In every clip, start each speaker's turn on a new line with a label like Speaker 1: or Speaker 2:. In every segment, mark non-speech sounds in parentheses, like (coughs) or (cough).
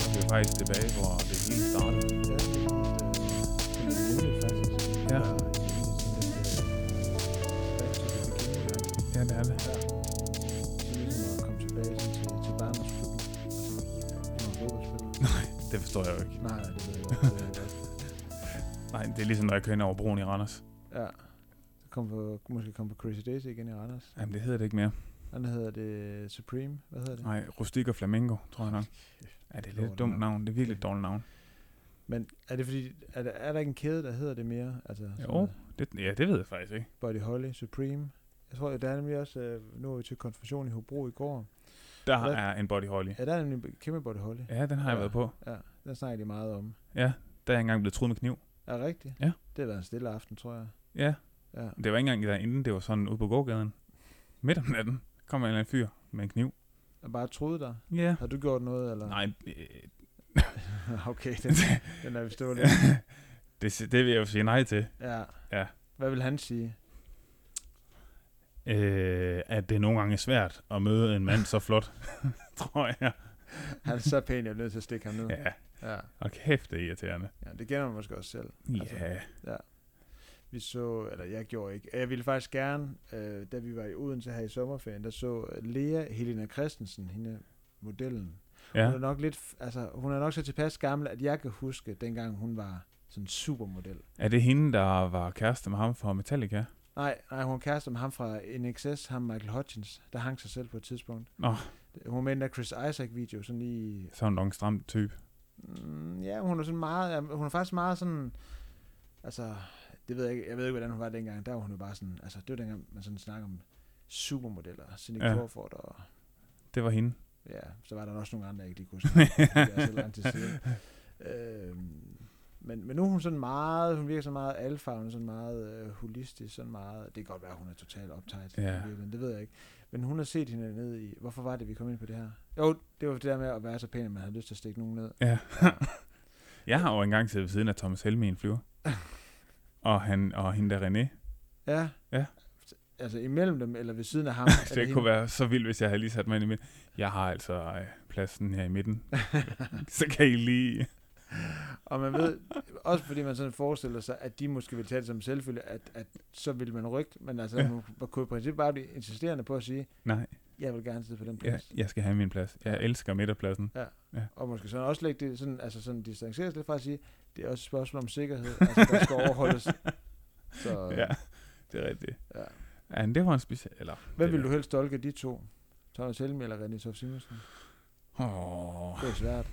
Speaker 1: Så er vi faktisk tilbage, hvor det hele startede.
Speaker 2: Ja, det er sådan lidt, øh, sådan lidt hjemligt, faktisk.
Speaker 1: Ja.
Speaker 2: Der er egentlig sådan lidt, øh, back to the beginning, ikke?
Speaker 1: Ja, det er det.
Speaker 2: Ja. Sådan ligesom at komme tilbage sådan til, til Altså, barndomsklubben. Når man (laughs) fodboldspiller.
Speaker 1: Nej, det forstår jeg jo ikke.
Speaker 2: Nej, det ved jeg godt. Det ved jeg godt.
Speaker 1: Nej, det er ligesom, når jeg kører ind over broen i Randers.
Speaker 2: Ja. Så kom på, måske komme på Crazy Days igen i Randers.
Speaker 1: Jamen, det hedder det ikke mere.
Speaker 2: Han hedder det Supreme. Hvad hedder det?
Speaker 1: Nej, Rustik og Flamingo, tror jeg nok. Ja, det er lidt
Speaker 2: Dårligt
Speaker 1: et dumt
Speaker 2: navn.
Speaker 1: navn. Det er virkelig et dårligt navn.
Speaker 2: Men er det fordi, er der, er der ikke en kæde, der hedder det mere? Altså, sådan
Speaker 1: Jo.
Speaker 2: noget
Speaker 1: Det, ja, det ved jeg faktisk ikke.
Speaker 2: Buddy Holly, Supreme. Jeg tror, der er nemlig også, øh, nu var vi til konfirmation i Hobro i går.
Speaker 1: Der
Speaker 2: Hvad?
Speaker 1: er en body holly.
Speaker 2: Ja, der er nemlig en kæmpe Buddy Holly.
Speaker 1: Ja, den har jeg
Speaker 2: Ja.
Speaker 1: været på.
Speaker 2: Ja, den snakker de meget om.
Speaker 1: Ja, der er jeg engang blevet truet med kniv.
Speaker 2: Er det rigtigt?
Speaker 1: Ja.
Speaker 2: Det har været en stille aften, tror jeg.
Speaker 1: Ja,
Speaker 2: Ja.
Speaker 1: det var ikke engang derinde. Det var sådan ude på gågaden. Midt om natten kom en eller anden fyr med en kniv.
Speaker 2: Jeg bare troede dig.
Speaker 1: Ja.
Speaker 2: Har du gjort noget, eller?
Speaker 1: Nej, øh,
Speaker 2: (laughs) okay, den, den er vi
Speaker 1: (laughs)
Speaker 2: stået lidt.
Speaker 1: det, si- det vil jeg jo sige nej til.
Speaker 2: Ja.
Speaker 1: Ja.
Speaker 2: Hvad vil han sige?
Speaker 1: Øh, at det nogle gange er svært at møde en mand så flot, (laughs) tror jeg.
Speaker 2: Han er så pæn, jeg er nødt til at stikke ham ned.
Speaker 1: Ja,
Speaker 2: ja.
Speaker 1: og kæft, det er irriterende.
Speaker 2: ja det kender man måske også selv. Altså,
Speaker 1: Ja,
Speaker 2: Vi så, eller jeg gjorde ikke, jeg ville faktisk gerne, øh, da vi var i Odense her i sommerferien, der så øh, Lea Helena Christensen, hende modellen. Ja. Hun, er
Speaker 1: ja.
Speaker 2: nok lidt, f- altså, hun er nok så tilpas gammel, at jeg kan huske, dengang hun var sådan supermodel.
Speaker 1: Er det hende, der var kæreste med ham fra Metallica?
Speaker 2: Nej, nej, hun kæreste med ham fra NXS, ham Michael Hutchins, der hang sig selv på et tidspunkt.
Speaker 1: Nå.
Speaker 2: Hun var med i den der Chris Isaac-video, sådan lige...
Speaker 1: Sådan en lang, stram type.
Speaker 2: Mm, ja, hun er sådan meget... ja, Hun er faktisk meget sådan... Altså, det ved jeg ikke, jeg ved ikke, hvordan hun var dengang. Der var hun jo bare sådan... Altså, det var dengang, man sådan snakker om supermodeller, Cindy
Speaker 1: Ja.
Speaker 2: ja. Crawford og...
Speaker 1: Det var hende.
Speaker 2: Ja, så var der også nogle andre, jeg ikke lige kunne snakke om, fordi det er så lang tid siden. Øhm, men, men nu er hun sådan meget, hun virker sådan meget alfa, hun er sådan meget øh, holistisk, sådan meget, det kan godt være, hun er totalt optaget,
Speaker 1: Ja.
Speaker 2: ja. det ved jeg ikke. Men hun har set hende ned i, hvorfor var det, vi kom ind på det her? Jo, det var det der med at være så pæn, at man havde lyst til at stikke nogen ned.
Speaker 1: Ja. (laughs) Jeg har jo engang siddet ved siden af Thomas Helme i en flyver. Og, han, og hende der René.
Speaker 2: Ja.
Speaker 1: Ja.
Speaker 2: Altså imellem dem, eller ved siden af ham.
Speaker 1: Så (laughs) det kunne være så vildt, hvis jeg havde lige sat mig ind i midten. Jeg har altså øh, pladsen her i midten. så kan I lige...
Speaker 2: Og man ved, også fordi man sådan forestiller sig, at de måske vil tage det som selvfølgelig, at, at så vil man rykke, men altså,
Speaker 1: Ja.
Speaker 2: man kunne i princippet bare blive insisterende på at sige,
Speaker 1: Nej,
Speaker 2: jeg vil gerne sidde på den
Speaker 1: jeg,
Speaker 2: plads.
Speaker 1: jeg skal have min plads. Jeg elsker midterpladsen.
Speaker 2: Og måske sådan også lægge det sådan, altså sådan distanceres lidt fra at sige, det er også et spørgsmål om sikkerhed, altså
Speaker 1: (laughs)
Speaker 2: der skal overholdes. Så, øh,
Speaker 1: Ja, det er rigtigt.
Speaker 2: Ja.
Speaker 1: Ja, men det var en speciel... Eller,
Speaker 2: Hvem
Speaker 1: det
Speaker 2: vil
Speaker 1: der-
Speaker 2: du helst dolke af de to? Thomas Helme eller René Sof Simonsen?
Speaker 1: Åh,
Speaker 2: Det er svært.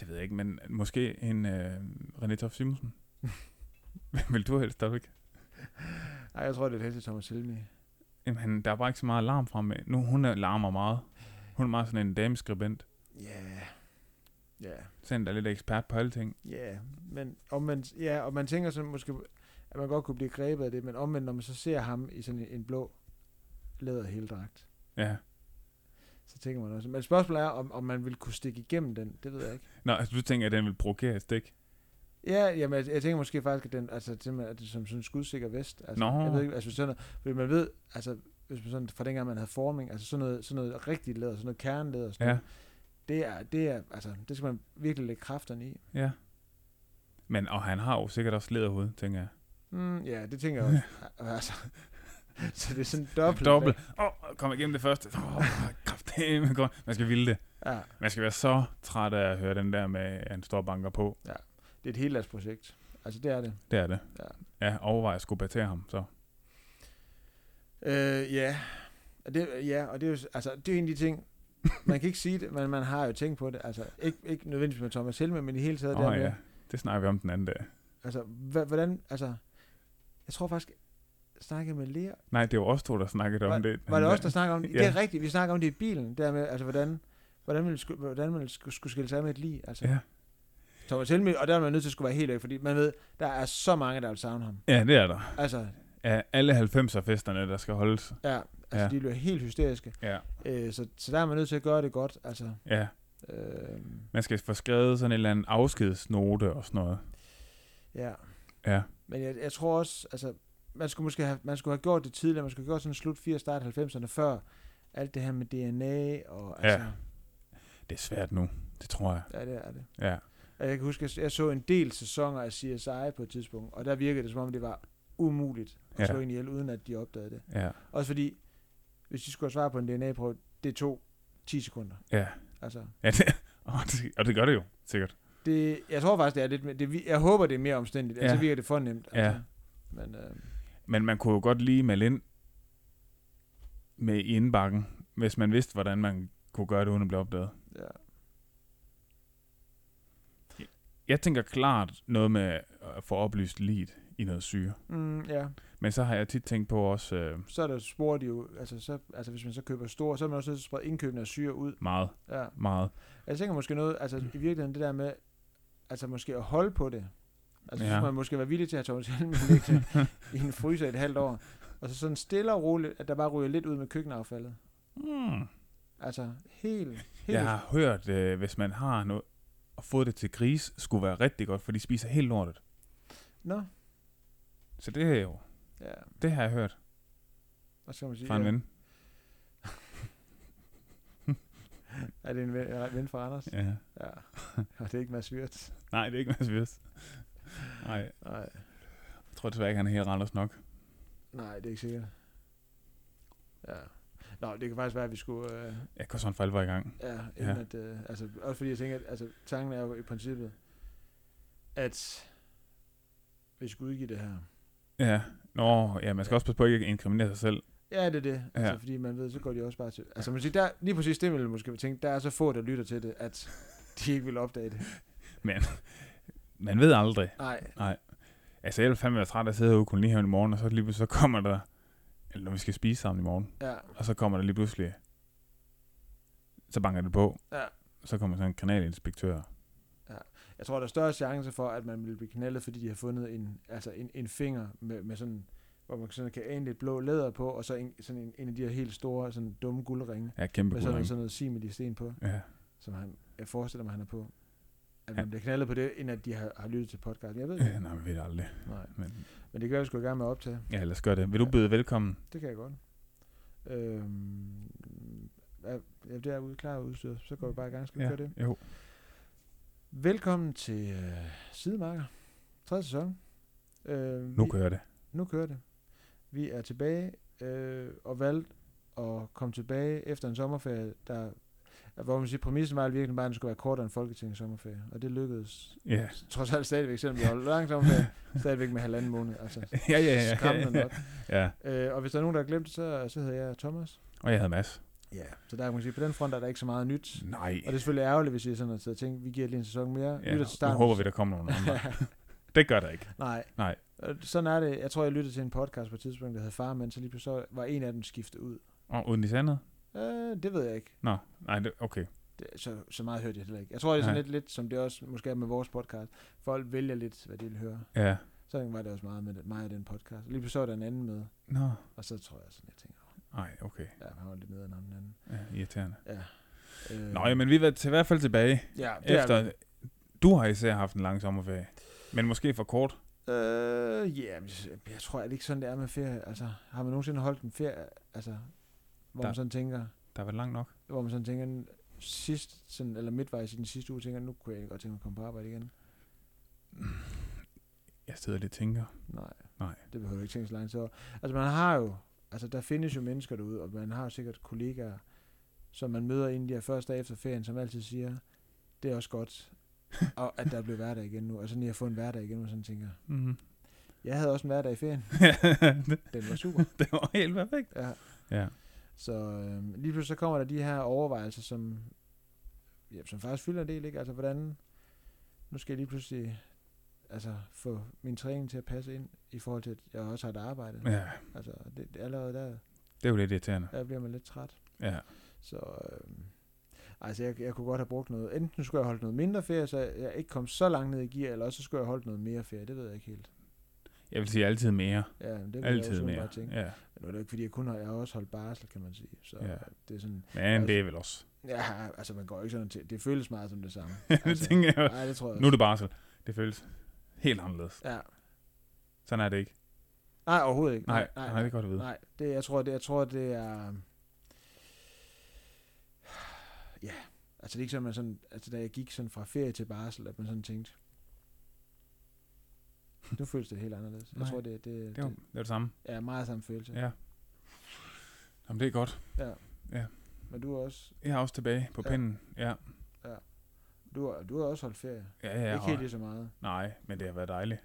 Speaker 1: det ved jeg ikke, men måske en øh, René Toff
Speaker 2: (laughs)
Speaker 1: Simonsen. Hvem vil du helst stadigvæk?
Speaker 2: Nej, jeg tror, det er helst Thomas Helme.
Speaker 1: Jamen, der er bare ikke så meget larm fra med. Nu, hun er- larmer meget. Hun er meget sådan en dameskribent.
Speaker 2: Ja. Ja.
Speaker 1: Sådan, der er lidt ekspert på alle ting.
Speaker 2: Ja. Men omvendt, ja, og man tænker sådan måske, at man godt kunne blive grebet af det, men omvendt, når man så ser ham i sådan en, en blå læderheldragt,
Speaker 1: Ja.
Speaker 2: så tænker man også. Men spørgsmålet er, om, om man vil kunne stikke igennem den. Det ved jeg ikke.
Speaker 1: Nå, altså, du tænker, at den vil provokere et stik?
Speaker 2: Ja, jamen, jeg, jeg tænker måske faktisk, at den, altså, til, at det er som sådan en skudsikker vest. Altså,
Speaker 1: Nå.
Speaker 2: Jeg ved ikke, altså, sådan noget, fordi man ved, altså, hvis man sådan, fra dengang man havde forming, altså sådan noget, sådan noget rigtigt læder, sådan noget kernelæder, sådan
Speaker 1: Ja,
Speaker 2: noget, det er, det er, altså, det skal man virkelig lægge kræfterne i.
Speaker 1: ja. Men, og han har jo sikkert også lederhoved, tænker jeg.
Speaker 2: Mm, ja, det tænker jeg også.
Speaker 1: (laughs)
Speaker 2: altså, (laughs) så det er sådan dobbelt.
Speaker 1: Dobbelt. Åh, oh, kom igennem det første. Åh, oh, kraftedeme godt. Man skal ville det.
Speaker 2: Ja,
Speaker 1: Man skal være så træt af at høre den der med, at han står og banker på.
Speaker 2: det er et helt projekt. Altså, det er det.
Speaker 1: Det er det.
Speaker 2: Ja.
Speaker 1: Ja, overvej at skulle battere ham, så.
Speaker 2: Øh, ja. Og det, ja, og det er jo, s- altså, det er en af de ting, man kan ikke sige det, men man har jo tænkt på det. Altså, ikke, ikke nødvendigvis med Thomas Helme, men i hele taget
Speaker 1: Åh
Speaker 2: der
Speaker 1: oh,
Speaker 2: med,
Speaker 1: ja, det snakker vi om den anden dag.
Speaker 2: Altså, hva- hvordan, altså, jeg tror faktisk, jeg snakkede med Lea.
Speaker 1: Nej, det var også to, der snakkede om det.
Speaker 2: Var det også der
Speaker 1: (laughs)
Speaker 2: snakkede om det?
Speaker 1: Ja.
Speaker 2: Det er rigtigt, vi snakker om det i bilen, der med, altså, hvordan, hvordan man, skulle, hvordan man skulle, skulle skille sig af med et lig. Altså,
Speaker 1: Ja.
Speaker 2: Thomas Helmi, og der er man nødt til at skulle være helt væk, fordi man ved, der er så mange, der vil savne ham.
Speaker 1: Ja, det er der.
Speaker 2: Altså,
Speaker 1: af alle 90'er-festerne, der skal holdes.
Speaker 2: Ja, altså
Speaker 1: Ja.
Speaker 2: ja. de bliver helt hysteriske.
Speaker 1: Ja,
Speaker 2: Øh, så, så der er man nødt til at gøre det godt. Altså,
Speaker 1: ja.
Speaker 2: øh,
Speaker 1: Man skal få skrevet sådan en eller anden afskedsnote og sådan noget.
Speaker 2: ja.
Speaker 1: Ja,
Speaker 2: Men jeg, jeg tror også, altså, man skulle måske have, man skulle have gjort det tidligere. Man skulle have gjort sådan slut 80'erne, start 90'erne før alt det her med DNA og
Speaker 1: Ja.
Speaker 2: altså,
Speaker 1: det er svært nu. Det tror jeg.
Speaker 2: ja. ja, det er det.
Speaker 1: Ja.
Speaker 2: Og jeg kan huske, at jeg så en del sæsoner af CSI på et tidspunkt, og der virkede det, som om det var umuligt at
Speaker 1: Ja.
Speaker 2: ja. slå en ihjel, uden at de opdagede det.
Speaker 1: Ja,
Speaker 2: Også fordi, hvis de skulle svare på en DNA-prøve, det tog 10 sekunder.
Speaker 1: ja.
Speaker 2: Altså,
Speaker 1: ja det, (laughs) og, det, og det gør det jo, sikkert.
Speaker 2: det, jeg tror faktisk, det er lidt mere, det, vi- jeg håber, det er mere omstændigt, ja.
Speaker 1: Ja.
Speaker 2: altså virker det for nemt.
Speaker 1: Ja.
Speaker 2: Altså. Men øh,
Speaker 1: Men man kunne jo godt lige melde ind med i indbakken, hvis man vidste, hvordan man kunne gøre det, uden at blive opdaget.
Speaker 2: ja.
Speaker 1: Jeg tænker klart noget med at få oplyst lidt i noget syre.
Speaker 2: Mm, ja,
Speaker 1: Men så har jeg tit tænkt på også øh,
Speaker 2: så er der spor, de jo, altså, så, altså hvis man så køber store, så er man også nødt til at sprede indkøbene af syre ud.
Speaker 1: meget,
Speaker 2: Ja.
Speaker 1: meget.
Speaker 2: Jeg tænker måske noget, altså i virkeligheden det der med, altså måske at holde på det. Altså
Speaker 1: Ja.
Speaker 2: ja. så skulle man måske være villig til at tage Helmin liggende i en fryser i et halvt år. Og så sådan stille og roligt, at der bare ryger lidt ud med køkkenaffaldet.
Speaker 1: Mm.
Speaker 2: Altså helt, helt...
Speaker 1: Jeg har hørt, øh, hvis man har noget og fået det til gris, skulle være rigtig godt, for de spiser helt lortet.
Speaker 2: Nå,
Speaker 1: Så det er jo,
Speaker 2: ja.
Speaker 1: det har jeg hørt
Speaker 2: Hvad skal man sige?
Speaker 1: fra en
Speaker 2: Ja.
Speaker 1: ven.
Speaker 2: Er det en ven, ja, ven fra Anders?
Speaker 1: Ja.
Speaker 2: Ja. Og det er ikke Mads Wirtz.
Speaker 1: Nej, det er ikke Mads Wirst. Nej,
Speaker 2: Nej.
Speaker 1: jeg tror desværre ikke, han er helt Randers nok.
Speaker 2: Nej, det er ikke sikkert. Ja. Nå, det kan faktisk være, at vi skulle... Øh,
Speaker 1: Jeg kunne sådan falde var i gang.
Speaker 2: ja, inden
Speaker 1: Ja.
Speaker 2: ja. At, øh, altså, også fordi jeg tænker, at altså, tanken er jo i princippet, at vi skulle udgive det her.
Speaker 1: Ja. Nå, ja, man skal også passe på ikke at inkriminere sig selv.
Speaker 2: Ja, det er det. Altså,
Speaker 1: Ja.
Speaker 2: ja. fordi man ved, så går de også bare til... Altså, man siger, der, lige præcis det, ville jeg måske tænke, der er så få, der lytter til det, at de ikke vil opdage det.
Speaker 1: Man ved aldrig.
Speaker 2: Nej,
Speaker 1: Altså, jeg ville fandme være træt af at sidde ude i kolonihaven i morgen, og så lige pludselig så kommer der... Eller når vi skal spise sammen i morgen,
Speaker 2: ja,
Speaker 1: og så kommer der lige pludselig... Så banker det på.
Speaker 2: ja.
Speaker 1: Så kommer sådan en kanalinspektør.
Speaker 2: Jeg tror, der er større chance for, at man vil blive knaldet, fordi de har fundet en, altså en, en finger med, med sådan hvor man sådan kan ane lidt blå læder på, og så en, sådan en, en af de her helt store, sådan dumme guldringe,
Speaker 1: Ja, kæmpe
Speaker 2: med sådan,
Speaker 1: guldring.
Speaker 2: sådan noget simil i sten på,
Speaker 1: Ja. (laughs)
Speaker 2: som han, jeg forestiller mig, han er på. At man
Speaker 1: Ja.
Speaker 2: bliver knaldet på det, end at de har, har lyttet til podcasten. Jeg ved det
Speaker 1: ja.
Speaker 2: ikke.
Speaker 1: Nej, man ved det aldrig.
Speaker 2: Nej.
Speaker 1: Men
Speaker 2: Men det kan være, vi skulle i gang med at optage.
Speaker 1: ja, lad os gøre det. Vil du byde velkommen?
Speaker 2: Det kan jeg godt. Øhm, ja, ja, det er ude klar udstyr, så går vi bare i gang. Skal vi ja.
Speaker 1: ja.
Speaker 2: køre det?
Speaker 1: Jo.
Speaker 2: Velkommen til øh, Sidemarker, tredje sæson. Øh,
Speaker 1: Nu
Speaker 2: vi-
Speaker 1: kører det.
Speaker 2: nu kører det. Vi er tilbage øh, og valgte at komme tilbage efter en sommerferie, der, hvor man siger, præmissen var virkelig bare, at den skulle være kortere end Folketingets sommerferie. Og det lykkedes
Speaker 1: Ja. (laughs)
Speaker 2: trods alt stadigvæk, selvom vi holdt lang sommerferie, stadigvæk med halvanden måned. Altså,
Speaker 1: ja, ja, ja.
Speaker 2: skræmmende nok.
Speaker 1: ja.
Speaker 2: Øh, og hvis der er nogen, der har glemt det, så, så hedder jeg Thomas.
Speaker 1: Og jeg havde Mads.
Speaker 2: Ja. Så der kan man sige, på den front er der ikke så meget nyt.
Speaker 1: Nej.
Speaker 2: Og det er selvfølgelig ærgerligt, hvis I sådan har siddet og tænkt, vi giver lige en sæson mere.
Speaker 1: Ja,
Speaker 2: lytter til starten.
Speaker 1: nu håber
Speaker 2: (laughs)
Speaker 1: vi, der kommer nogen andre. det gør der ikke.
Speaker 2: Nej.
Speaker 1: Nej.
Speaker 2: Og Sådan er det. Jeg tror, jeg lyttede til en podcast på et tidspunkt, der hed Far, men så lige pludselig så var en af dem skiftet ud.
Speaker 1: Og uden de sandede?
Speaker 2: Øh, det ved jeg ikke.
Speaker 1: Nå, nej, det, okay.
Speaker 2: Det, så, så meget hørte jeg heller ikke. Jeg tror, det er sådan
Speaker 1: Nej.
Speaker 2: lidt, lidt, som det også måske er med vores podcast. Folk vælger lidt, hvad de vil høre.
Speaker 1: Ja.
Speaker 2: Sådan var det også meget med det, mig og den podcast. Lige pludselig var der en anden med,
Speaker 1: Nå,
Speaker 2: og så tror jeg sådan, jeg tænker,
Speaker 1: nej, okay.
Speaker 2: ja, han var lidt nede end ham den anden.
Speaker 1: Ja, irriterende.
Speaker 2: Øh,
Speaker 1: Nå, men vi er til, i hvert fald tilbage.
Speaker 2: ja, det
Speaker 1: Efter,
Speaker 2: Er,
Speaker 1: du har især haft en lang sommerferie. Men måske for kort.
Speaker 2: øh, ja, men jeg, jeg tror, er det ikke sådan, det er med ferie? Altså, har man nogensinde holdt en ferie, altså, hvor
Speaker 1: Der-
Speaker 2: man sådan tænker,
Speaker 1: Der har været langt nok.
Speaker 2: hvor man sådan tænker, sidst, sådan, eller midtvejs i den sidste uge, tænker, nu kunne jeg egentlig godt tænke mig at komme på arbejde igen.
Speaker 1: Jeg sidder lidt og tænker.
Speaker 2: Nej.
Speaker 1: Nej.
Speaker 2: Det behøver du ikke tænke så langt over. Altså man har jo, altså der findes jo mennesker derude, og man har jo sikkert kollegaer, som man møder inden de her første dage efter ferien, som altid siger, det er også
Speaker 1: (laughs)
Speaker 2: godt, og at der er blevet hverdag igen nu. Altså lige at få en hverdag igen, hvor man sådan tænker,
Speaker 1: Mm-hmm.
Speaker 2: jeg havde også en hverdag i ferien,
Speaker 1: det,
Speaker 2: den var
Speaker 1: (laughs)
Speaker 2: super.
Speaker 1: (laughs) det var helt perfekt.
Speaker 2: Ja.
Speaker 1: Ja.
Speaker 2: Så øh, lige pludselig så kommer der de her overvejelser, som, ja, som faktisk fylder en del, ikke? Altså hvordan, nu skal jeg lige pludselig altså, få min træning til at passe ind, i forhold til, at jeg også har et arbejde.
Speaker 1: ja,
Speaker 2: Altså, det, det er allerede der,
Speaker 1: det er jo lidt irriterende.
Speaker 2: der bliver man lidt træt.
Speaker 1: Ja.
Speaker 2: Så øh, altså, jeg, jeg kunne godt have brugt noget. Enten skulle jeg holde noget mindre ferie, så jeg ikke kom så langt ned i gear, eller også så skulle jeg holde noget mere ferie. Det ved jeg ikke helt.
Speaker 1: Jeg vil sige altid mere.
Speaker 2: Ja, men det kunne jeg
Speaker 1: Altid
Speaker 2: også
Speaker 1: mere.
Speaker 2: bare tænke.
Speaker 1: Ja.
Speaker 2: Men nu er det jo ikke, fordi jeg kun har, jeg har også holdt barsel, kan man sige. Så altså,
Speaker 1: Ja.
Speaker 2: ja. det er sådan,
Speaker 1: Men det er vel også.
Speaker 2: ja, altså man går ikke sådan til, det føles meget som det samme.
Speaker 1: (laughs)
Speaker 2: Altså,
Speaker 1: det tænker jeg også.
Speaker 2: Nej, det tror jeg
Speaker 1: Nu er
Speaker 2: også.
Speaker 1: det barsel. Det føles helt anderledes.
Speaker 2: Ja.
Speaker 1: Sådan er det ikke.
Speaker 2: Nej, overhovedet ikke.
Speaker 1: Nej, nej, det er godt at vide.
Speaker 2: Nej, det, jeg, tror, det, jeg tror, det er... Ja, altså det er ikke sådan, man sådan, altså da jeg gik sådan fra ferie til barsel, at man sådan tænkte, nu føles det helt anderledes. Jeg
Speaker 1: Nej,
Speaker 2: tror, det, det,
Speaker 1: Det er, jo,
Speaker 2: det
Speaker 1: det er det samme.
Speaker 2: er meget samme følelse.
Speaker 1: Ja. Jamen, det er godt.
Speaker 2: Men du er også,
Speaker 1: Jeg er også tilbage på
Speaker 2: Ja.
Speaker 1: pinden. Ja,
Speaker 2: du har, du har også holdt ferie.
Speaker 1: ja, ja.
Speaker 2: Ja, ikke helt ligesom-
Speaker 1: Og,
Speaker 2: lige så meget.
Speaker 1: nej, men det har været dejligt.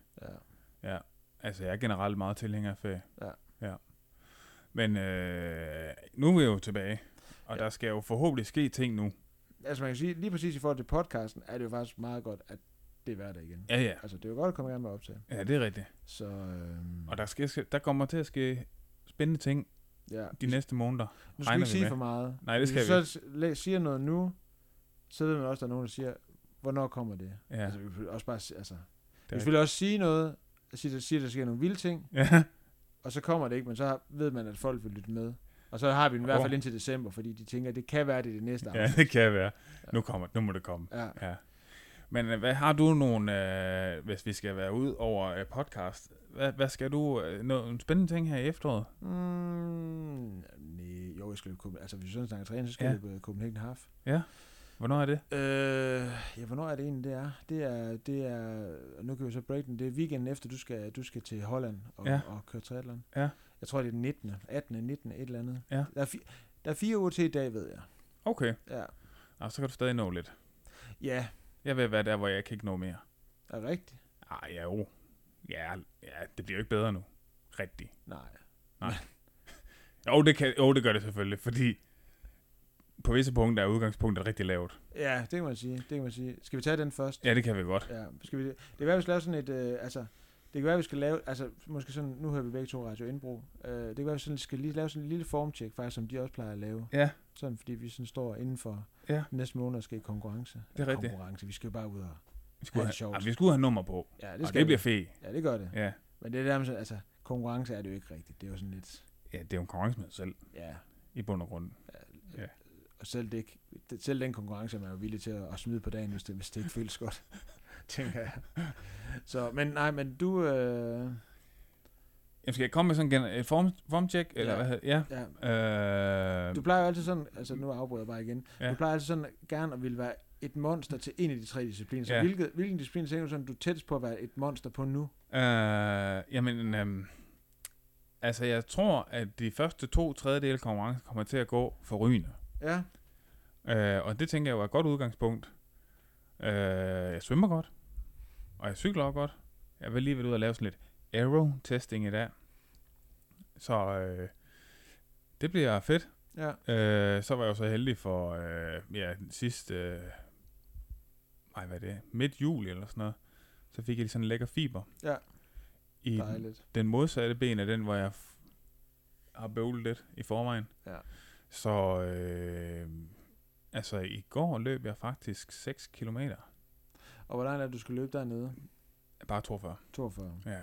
Speaker 2: Ja.
Speaker 1: Altså, jeg er generelt meget tilhænger af ferie.
Speaker 2: Ja.
Speaker 1: ja. Men øh, nu er vi jo tilbage, og
Speaker 2: Ja.
Speaker 1: ja. der skal jo forhåbentlig ske ting nu.
Speaker 2: Altså man kan sige, lige præcis i forhold til podcasten, er det jo faktisk meget godt, at det er hverdag igen.
Speaker 1: Ja, ja.
Speaker 2: Altså det er jo godt at komme i gang med at optage.
Speaker 1: Ja, det er rigtigt.
Speaker 2: Så øhm,
Speaker 1: Og der, skal, ske- der kommer til at ske spændende ting
Speaker 2: ja.
Speaker 1: de næste måneder.
Speaker 2: Nu skal vi
Speaker 1: regner vi
Speaker 2: ikke sige
Speaker 1: med.
Speaker 2: for meget.
Speaker 1: Nej, det skal
Speaker 2: Hvis
Speaker 1: vi
Speaker 2: vi så la- siger noget nu, så ved man også, at der er nogen, der siger, hvornår kommer det?
Speaker 1: Ja,
Speaker 2: Altså, vi vil også bare, si- altså, vi
Speaker 1: er
Speaker 2: vil selvfølgelig også sige noget, sige, der, siger, der sker nogle vilde
Speaker 1: (laughs)
Speaker 2: ting,
Speaker 1: ja.
Speaker 2: og så kommer det ikke, men så har- ved man, at folk vil lytte med. Og så har vi den i hvert
Speaker 1: Åh.
Speaker 2: fald indtil december, fordi de tænker, at det kan være, det er det næste
Speaker 1: ja,
Speaker 2: afsnit.
Speaker 1: det kan være. Nu, kommer, nu må det komme.
Speaker 2: Ja.
Speaker 1: Ja. Men øh, hvad har du nogle, øh, hvis vi skal være ud over øh, podcast, hvad, hvad skal du, øh, noget, en spændende ting her i efteråret?
Speaker 2: Mm, nej, jo, jeg skal løbe Copenhagen. Altså, hvis vi sådan snakker træning, så skal
Speaker 1: Ja.
Speaker 2: ja. jeg løbe Copenhagen Half.
Speaker 1: Hvornår er det?
Speaker 2: Øh, ja, hvornår er det egentlig, det er? Det er, det er, og nu kan vi så break den, det er weekenden efter, du skal, du skal til Holland og,
Speaker 1: Ja.
Speaker 2: ja. og køre triathlon.
Speaker 1: Ja.
Speaker 2: Jeg tror, det er den 19. 18. 19. et eller andet.
Speaker 1: Ja.
Speaker 2: Der, er fi, der er fire uger til i dag, ved jeg.
Speaker 1: Okay,
Speaker 2: Ja,
Speaker 1: Nå, Ah, så kan du stadig nå lidt.
Speaker 2: ja
Speaker 1: Jeg vil være der, hvor jeg kan ikke nå mere.
Speaker 2: er rigtigt.
Speaker 1: Ah, ja, jo. Ja, ja, det bliver jo ikke bedre nu. Rigtigt.
Speaker 2: Nej.
Speaker 1: Jo, det, kan, jo, det gør det selvfølgelig, fordi på visse punkter er udgangspunktet rigtig lavt.
Speaker 2: Ja, det kan man sige. Det kan man sige. Skal vi tage den først?
Speaker 1: Ja, det kan vi godt.
Speaker 2: Ja, skal vi, det kan være, vi skal lave sådan et, øh, altså, det kan være, vi skal lave, altså, måske sådan, nu hører vi begge to Radio Indbro, øh, det kan være, vi sådan, skal lige lave sådan en lille formcheck, faktisk, som de også plejer at lave.
Speaker 1: Ja.
Speaker 2: Sådan, fordi vi sådan står inden for
Speaker 1: Ja.
Speaker 2: næste måned og skal i konkurrence.
Speaker 1: Det er
Speaker 2: Eller
Speaker 1: rigtigt.
Speaker 2: Konkurrence, vi skal jo bare ud og...
Speaker 1: Vi skulle,
Speaker 2: Ja, det er
Speaker 1: have,
Speaker 2: sjovt.
Speaker 1: ah, vi skulle have nummer på,
Speaker 2: Ja,
Speaker 1: det
Speaker 2: det
Speaker 1: og
Speaker 2: skal
Speaker 1: det bliver
Speaker 2: vi.
Speaker 1: fedt.
Speaker 2: Ja, det gør det.
Speaker 1: Ja.
Speaker 2: Men det er der med sådan, altså, konkurrence er det jo ikke rigtigt. Det er jo sådan lidt,
Speaker 1: ja, det er jo en konkurrence med sig selv,
Speaker 2: ja,
Speaker 1: i bund og grund. Ja.
Speaker 2: og selv, det, ikke- det, selv den konkurrence er man jo villig til at, at smide på dagen, hvis det, hvis det ikke føles godt, (laughs) tænker jeg. Så, men nej, men du, øh,
Speaker 1: Jamen, skal jeg komme med sådan en gen- et form, formcheck? Eller
Speaker 2: Ja.
Speaker 1: hvad hedder Ja.
Speaker 2: ja,
Speaker 1: Øh,
Speaker 2: Du plejer jo altid sådan, altså nu afbryder jeg bare igen,
Speaker 1: Ja.
Speaker 2: ja. du plejer altid sådan gerne at ville være et monster til en af de tre discipliner. Så
Speaker 1: Ja.
Speaker 2: ja. hvilket, hvilken disciplin tænker du sådan, du er tættest på at være et monster på nu?
Speaker 1: øh, jamen, øhm, altså jeg tror, at de første to tredjedele konkurrence kommer til at gå for rygende.
Speaker 2: Ja,
Speaker 1: Øh, og det tænker jeg jo er et godt udgangspunkt. Øh, jeg svømmer godt, og jeg cykler også godt. Jeg vil lige ved ud og lave sådan lidt aero-testing i dag. Så øh, det bliver fedt.
Speaker 2: ja,
Speaker 1: Øh, så var jeg jo så heldig for øh, ja, sidste... Øh, ej, hvad er det? Midt juli eller sådan noget. Så fik jeg lige sådan en lækker fiber.
Speaker 2: Ja.
Speaker 1: I den,
Speaker 2: dejligt.
Speaker 1: den modsatte ben af den, hvor jeg f- har bøvlet lidt i forvejen.
Speaker 2: Ja.
Speaker 1: Så øh, altså i går løb jeg faktisk 6 km.
Speaker 2: Og hvor langt er det, du skal løbe dernede?
Speaker 1: Bare 42.
Speaker 2: 42.
Speaker 1: Ja.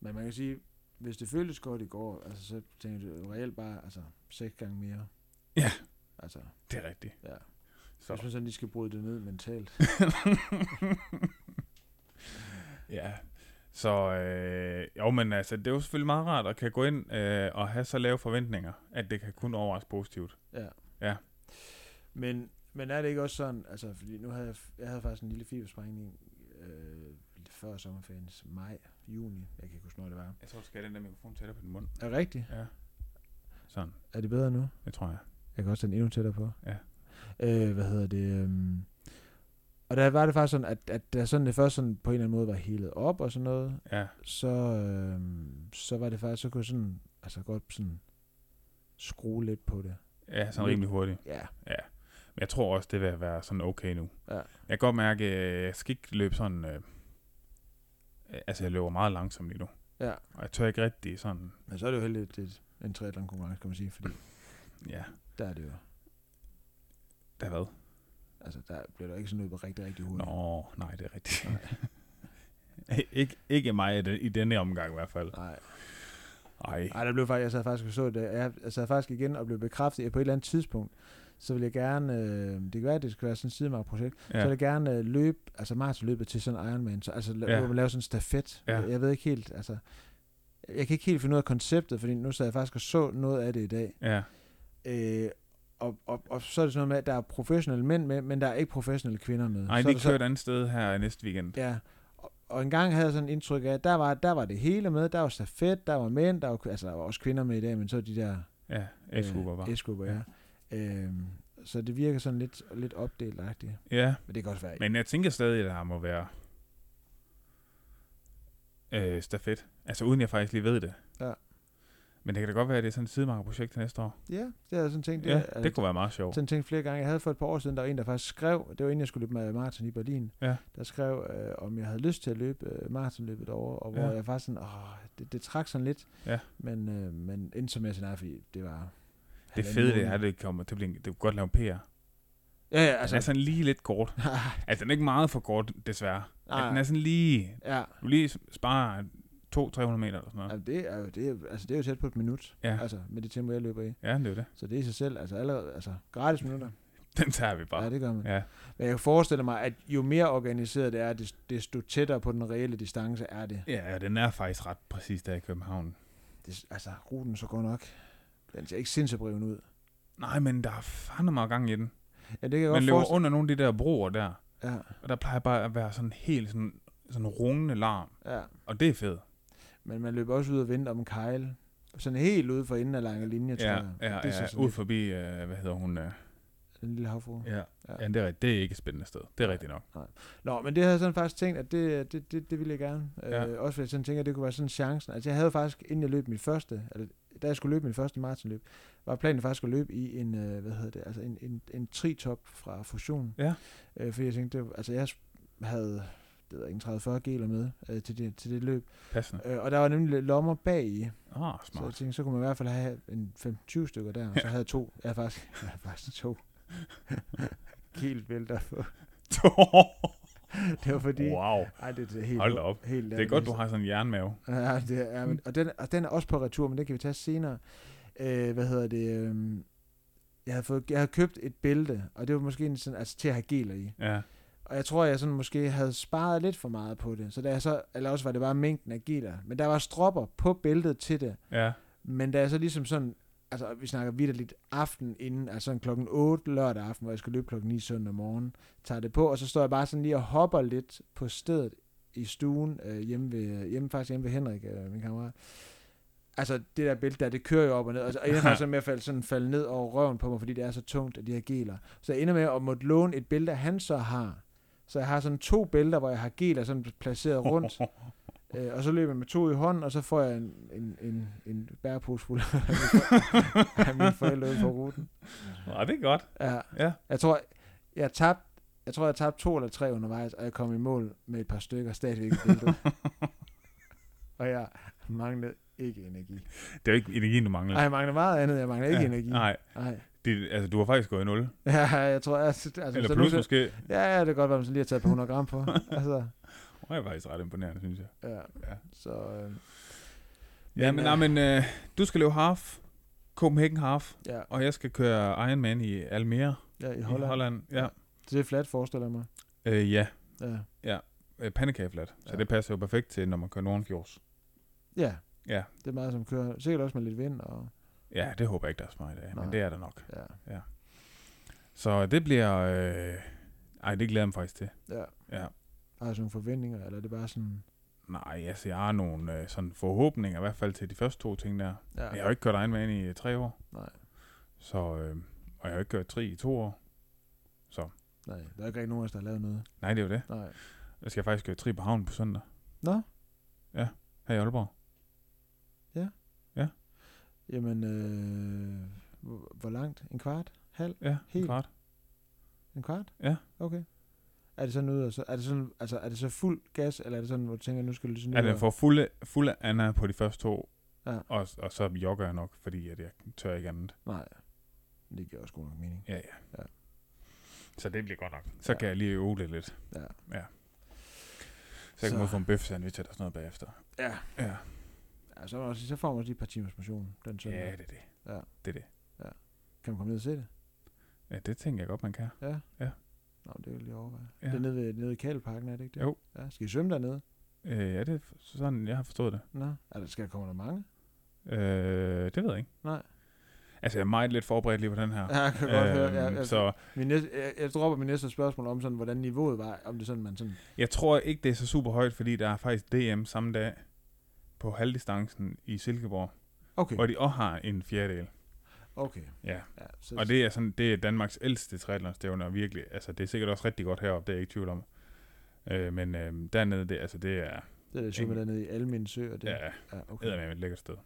Speaker 2: Men man kan sige, hvis det føltes godt i går, altså så tænker du jo reelt bare, altså seks gange mere.
Speaker 1: Ja.
Speaker 2: Altså,
Speaker 1: Det er rigtigt.
Speaker 2: ja. Så. Hvis
Speaker 1: Så.
Speaker 2: man sådan lige skal bryde det ned (laughs) mentalt.
Speaker 1: ja. Så øh, jo, men altså, det er jo selvfølgelig meget rart at kan gå ind øh, og have så lave forventninger, at det kan kun overraske positivt.
Speaker 2: Ja.
Speaker 1: Ja.
Speaker 2: Men, men er det ikke også sådan, altså, fordi nu havde jeg, f- jeg havde faktisk en lille fibersprængning øh, lidt før sommerferien, maj, juni, jeg kan ikke huske, når det var.
Speaker 1: Jeg tror, du skal have den der mikrofon tættere på din mund.
Speaker 2: Er det rigtigt?
Speaker 1: Ja. Sådan,
Speaker 2: Er det bedre nu?
Speaker 1: det tror jeg.
Speaker 2: Jeg kan også tage den endnu tættere på.
Speaker 1: Ja.
Speaker 2: Øh, hvad hedder det? øhm, og der var det faktisk sådan, at, at da sådan det først sådan på en eller anden måde var helet op og sådan noget,
Speaker 1: Ja,
Speaker 2: så, øhm, så var det faktisk, så kunne jeg sådan, altså godt sådan skrue lidt på det.
Speaker 1: ja sådan rimelig hurtigt.
Speaker 2: Ja,
Speaker 1: Men jeg tror også, det vil være sådan okay nu.
Speaker 2: Ja.
Speaker 1: Jeg kan godt mærke, at jeg skal ikke løbe sådan... Øh, altså, jeg løber meget langsomt lige nu.
Speaker 2: Ja.
Speaker 1: Og jeg tør ikke rigtig sådan...
Speaker 2: men så er det jo heldigt, det er en triathlon konkurrence, kan man sige, fordi
Speaker 1: Ja,
Speaker 2: der er det jo
Speaker 1: der hvad?
Speaker 2: Altså, der bliver der ikke sådan løbet rigtig, rigtig hurtigt.
Speaker 1: (laughs) Nå, nej, det er rigtigt. ikke, ikke mig i den- i denne omgang i hvert fald.
Speaker 2: Nej.
Speaker 1: Ej.
Speaker 2: Nej, der blev faktisk, jeg sad faktisk og så det. Jeg, jeg sad faktisk igen og blev bekræftet, at på et eller andet tidspunkt, så vil jeg gerne, øh, det kan være, at det skal være sådan et sidemarkprojekt, ja. så vil
Speaker 1: Ja.
Speaker 2: jeg gerne øh, løbe, altså maratonløbet til sådan en Ironman, så, altså
Speaker 1: Ja.
Speaker 2: ja. hvor man laver sådan en stafet.
Speaker 1: Ja.
Speaker 2: Ja. Jeg ved ikke helt, altså, jeg kan ikke helt finde ud af konceptet, fordi nu sad jeg faktisk og så noget af det i dag.
Speaker 1: Ja.
Speaker 2: Øh, og, og, og, så er det sådan noget med, at der er professionelle mænd med, men der er ikke professionelle kvinder med.
Speaker 1: Ej,
Speaker 2: så er
Speaker 1: de
Speaker 2: der så-
Speaker 1: kører et andet sted her næste weekend.
Speaker 2: Ja, og, og en gang havde jeg sådan et indtryk af, at der var, der var det hele med. Der var stafet, der var mænd, der var, altså, der var også kvinder med i dag, men så de der... øh,
Speaker 1: Ja, S-grupper var.
Speaker 2: S-grupper, ja. Øhm, så det virker sådan lidt, lidt opdelt-agtigt.
Speaker 1: Ja,
Speaker 2: Men det kan også være...
Speaker 1: men jeg tænker stadig, at der må være øh, stafet. Altså uden jeg faktisk lige ved det.
Speaker 2: Ja.
Speaker 1: Men det kan da godt være, at det er sådan et sidemarkerprojekt til næste år.
Speaker 2: Ja, det havde jeg sådan tænkt.
Speaker 1: Ja,
Speaker 2: altså,
Speaker 1: det kunne være meget sjovt.
Speaker 2: sådan tænkt flere gange. Jeg havde for et par år siden, der var en, der faktisk skrev, det var inden jeg skulle løbe med maraton i Berlin,
Speaker 1: Ja.
Speaker 2: der skrev, øh, om jeg havde lyst til at løbe øh, maratonløbet over, og hvor
Speaker 1: Ja.
Speaker 2: ja. jeg faktisk sådan, åh, det, det trak sådan lidt,
Speaker 1: Ja.
Speaker 2: men, øh, men endte så med at sige nej, fordi det var...
Speaker 1: Det
Speaker 2: halvanden
Speaker 1: fede det
Speaker 2: måned.
Speaker 1: er, at det kommer til at blive en, det kunne godt lave en PR.
Speaker 2: Ja, ja,
Speaker 1: Altså,
Speaker 2: altså...
Speaker 1: den er sådan lige lidt
Speaker 2: (laughs)
Speaker 1: kort. Altså, den er ikke meget for kort, desværre. Altså,
Speaker 2: nej,
Speaker 1: den er sådan lige...
Speaker 2: ja,
Speaker 1: Du lige sparer 200-300 meter eller sådan noget.
Speaker 2: altså, det, er jo, det, er, altså, det er jo tæt på et minut,
Speaker 1: Ja.
Speaker 2: altså, med det tempo, jeg løber i.
Speaker 1: Ja, det er jo det. (laughs)
Speaker 2: Så det er i sig selv, altså allerede, altså gratis minutter.
Speaker 1: Den tager vi bare.
Speaker 2: Ja, det gør man.
Speaker 1: Ja,
Speaker 2: Men jeg forestiller mig, at jo mere organiseret det er, des- desto tættere på den reelle distance er det.
Speaker 1: ja og den er faktisk ret præcis der i København.
Speaker 2: det altså, ruten så går nok. Den ser ikke sindssygt ud.
Speaker 1: Nej, men der er fandme meget gang i den.
Speaker 2: Ja, det kan jeg
Speaker 1: Man
Speaker 2: godt
Speaker 1: løber
Speaker 2: forestille
Speaker 1: under nogle af de der broer der,
Speaker 2: ja,
Speaker 1: og der plejer bare at være sådan helt sådan, sådan rungende larm.
Speaker 2: ja.
Speaker 1: Og det er fedt.
Speaker 2: Men man løber også ud og venter om en kejle. Sådan helt ude for enden af lange linjer, tror
Speaker 1: Ja,
Speaker 2: jeg.
Speaker 1: ja,
Speaker 2: det er
Speaker 1: ja,
Speaker 2: sådan
Speaker 1: ud
Speaker 2: lidt,
Speaker 1: forbi, øh, hvad hedder hun? Øh,
Speaker 2: den lille havfru.
Speaker 1: ja.
Speaker 2: Ja.
Speaker 1: ja, det er, rigtigt. det er ikke et spændende sted. Det er rigtigt nok.
Speaker 2: Nå, men det havde jeg sådan faktisk tænkt, at det, det, det, det ville jeg gerne.
Speaker 1: Ja.
Speaker 2: Ja. Øh, også fordi jeg sådan tænker, at det kunne være sådan chancen. Altså jeg havde faktisk, inden jeg løb min første, eller da jeg skulle løbe min første maratonløb, var planen faktisk at løbe i en, øh, hvad hedder det, altså en, en, en tritop fra Fusion.
Speaker 1: Ja.
Speaker 2: Øh, fordi jeg tænkte, det, var- altså jeg havde, det ved jeg ikke, 30-40 geler med øh, til, det, til det løb.
Speaker 1: Passende.
Speaker 2: Øh, og der var nemlig lidt lommer bag i,
Speaker 1: Ah,
Speaker 2: så jeg
Speaker 1: smart.
Speaker 2: tænkte, så kunne man i hvert fald have en 5-20 stykker der, og så havde jeg to, jeg havde faktisk, (laughs) jeg havde faktisk
Speaker 1: (laughs)
Speaker 2: to. Helt vælter på.
Speaker 1: (laughs)
Speaker 2: (laughs) Det var fordi,
Speaker 1: wow.
Speaker 2: Ej, det er helt,
Speaker 1: Hold da op.
Speaker 2: Helt
Speaker 1: Det er godt, du har sådan en jernmave.
Speaker 2: Ja, det er, men, og, den, og den er også på retur, men den kan vi tage senere. Øh, hvad hedder det? øhm, jeg havde, fået, jeg havde købt et bælte, og det var måske en sådan, altså, til at have geler i.
Speaker 1: Ja,
Speaker 2: Og jeg tror, jeg sådan måske havde sparet lidt for meget på det. Så da jeg så, eller også var det bare mængden af geler. Men der var stropper på bæltet til det.
Speaker 1: ja,
Speaker 2: Men da jeg så ligesom sådan, altså vi snakker vidderligt aften inden, altså sådan klokken 8 lørdag aften, hvor jeg skal løbe klokken 9 søndag morgen, tager det på, og så står jeg bare sådan lige og hopper lidt på stedet i stuen, øh, hjemme, ved, hjemme faktisk hjemme ved Henrik, øh, min kammerat. Altså det der bælte der, det kører jo op og ned, og, så, og jeg faktisk sådan med at falde, sådan falde ned over røven på mig, fordi det er så tungt, at de her geler. Så jeg ender med at måtte låne et bælte, han så har. Så jeg har sådan to bælter, hvor jeg har geler sådan placeret rundt. Øh, og så løber jeg med to i hånden, og så får jeg en, en, en, en bærepose fuld af mine- af mine forældre ude på ruten.
Speaker 1: Nå, det er godt.
Speaker 2: Ja,
Speaker 1: Ja.
Speaker 2: jeg tror, jeg tabte jeg tror, jeg tabte to eller tre undervejs, og jeg kom i mål med et par stykker stadigvæk i
Speaker 1: (laughs)
Speaker 2: bæltet. og jeg manglede ikke energi.
Speaker 1: Det er jo ikke energien, du mangler.
Speaker 2: Nej, jeg mangler meget andet. Jeg mangler ikke
Speaker 1: ja.
Speaker 2: energi.
Speaker 1: Nej,
Speaker 2: Nej.
Speaker 1: det, altså, du har faktisk gået i nul.
Speaker 2: Ja, jeg tror, altså, altså
Speaker 1: Eller
Speaker 2: så
Speaker 1: plus
Speaker 2: nu-
Speaker 1: måske.
Speaker 2: Ja, ja, det kan godt være, man så lige har taget et par 100
Speaker 1: (laughs)
Speaker 2: gram på. altså,
Speaker 1: Det er faktisk ret imponerende, synes jeg.
Speaker 2: ja.
Speaker 1: Ja.
Speaker 2: Så, øh,
Speaker 1: Ja, men,
Speaker 2: øh,
Speaker 1: nej, men øh, du skal løbe half. Copenhagen half.
Speaker 2: ja,
Speaker 1: Og jeg skal køre Ironman i Almere
Speaker 2: ja, i
Speaker 1: i
Speaker 2: Holland.
Speaker 1: Holland. Holland. Ja.
Speaker 2: Det er flat, forestiller jeg mig.
Speaker 1: Øh, ja.
Speaker 2: Ja.
Speaker 1: Øh, pandekageflat. Så
Speaker 2: Ja.
Speaker 1: det passer jo perfekt til, når man kører Nordenfjords.
Speaker 2: ja,
Speaker 1: Ja.
Speaker 2: Det er meget, som kører. Sikkert også med lidt vind. Og,
Speaker 1: Ja, det håber jeg ikke, der er så meget af, men
Speaker 2: Nej.
Speaker 1: det er der nok.
Speaker 2: ja.
Speaker 1: Så det bliver... Øh... Ej, det glæder jeg mig faktisk til.
Speaker 2: ja.
Speaker 1: Ja.
Speaker 2: Har jeg sådan nogle forventninger, eller er det bare sådan...
Speaker 1: Nej, altså, jeg har nogle øh, sådan forhåbninger, i hvert fald til de første to ting der. Men Jeg har jo ikke kørt Ironman i øh, tre år.
Speaker 2: Nej.
Speaker 1: Så, øh, og jeg har jo ikke kørt tri i to år.
Speaker 2: Nej, der er ikke rigtig nogen af os, der har lavet noget.
Speaker 1: Nej, det er jo det.
Speaker 2: Nej.
Speaker 1: Jeg skal faktisk køre tri på havnen på søndag.
Speaker 2: Nå.
Speaker 1: Ja, her i Aalborg.
Speaker 2: Jamen, øh, hvor- hvor langt? En kvart? Halv?
Speaker 1: Ja, Helt.
Speaker 2: Helt.
Speaker 1: klart.
Speaker 2: En kvart?
Speaker 1: Ja.
Speaker 2: Okay. Er det sådan ud, og så, er det sådan, altså, er det så fuld gas, eller er det sådan, hvor du tænker, nu skal du sådan
Speaker 1: At Altså, jeg
Speaker 2: og-
Speaker 1: får fulde, fulde Anna på de første to,
Speaker 2: Ja.
Speaker 1: og, og så jogger jeg nok, fordi at jeg tør ikke andet.
Speaker 2: Nej. Det giver også god nok mening.
Speaker 1: Ja, ja.
Speaker 2: Ja.
Speaker 1: Så det bliver godt nok. Så ja.
Speaker 2: Ja.
Speaker 1: kan jeg lige øve det lidt.
Speaker 2: Ja.
Speaker 1: Ja. Så jeg kan
Speaker 2: Så-
Speaker 1: ud få en bøf sandwich eller sådan noget bagefter.
Speaker 2: Ja.
Speaker 1: Ja,
Speaker 2: ja så, er der også, så får man også lige et par timers motion den søndag.
Speaker 1: ja
Speaker 2: Ja.
Speaker 1: det er det.
Speaker 2: Ja.
Speaker 1: Det er det.
Speaker 2: Kan man komme ned og se det?
Speaker 1: Ja, det tænker jeg godt, man kan.
Speaker 2: Ja.
Speaker 1: Ja.
Speaker 2: Nå, men det vil jeg lige overveje.
Speaker 1: Ja.
Speaker 2: Ja. Det er nede ved, nede ved Kæleparken, er det ikke det?
Speaker 1: Jo.
Speaker 2: Ja. Skal I svømme dernede?
Speaker 1: Øh, ja, det er f- sådan, jeg har forstået det.
Speaker 2: Nå. Altså, skal der komme der mange?
Speaker 1: Øh, det ved jeg ikke.
Speaker 2: Nej.
Speaker 1: Altså, jeg er meget lidt forberedt lige på den her.
Speaker 2: Ja, jeg kan godt høre. Ja, altså.
Speaker 1: Øhm,
Speaker 2: jeg,
Speaker 1: så
Speaker 2: min næste, jeg, jeg dropper min næste spørgsmål om, sådan, hvordan niveauet var. Om det sådan, man sådan...
Speaker 1: jeg tror ikke, det er så super højt, fordi der er faktisk DM samme dag på halvdistancen i Silkeborg,
Speaker 2: Okay,
Speaker 1: hvor de også har en fjerdedel.
Speaker 2: okay.
Speaker 1: Ja,
Speaker 2: Ja, så,
Speaker 1: og det er, sådan, det er Danmarks ældste triathlonstævne, og virkelig, altså det er sikkert også rigtig godt heroppe, det er jeg ikke i tvivl om. Øh, men øh, dernede, det, altså det er,
Speaker 2: det er det svømme dernede i Almin Sø. Og det,
Speaker 1: det er
Speaker 2: ja, okay.
Speaker 1: eddermame et lækkert sted.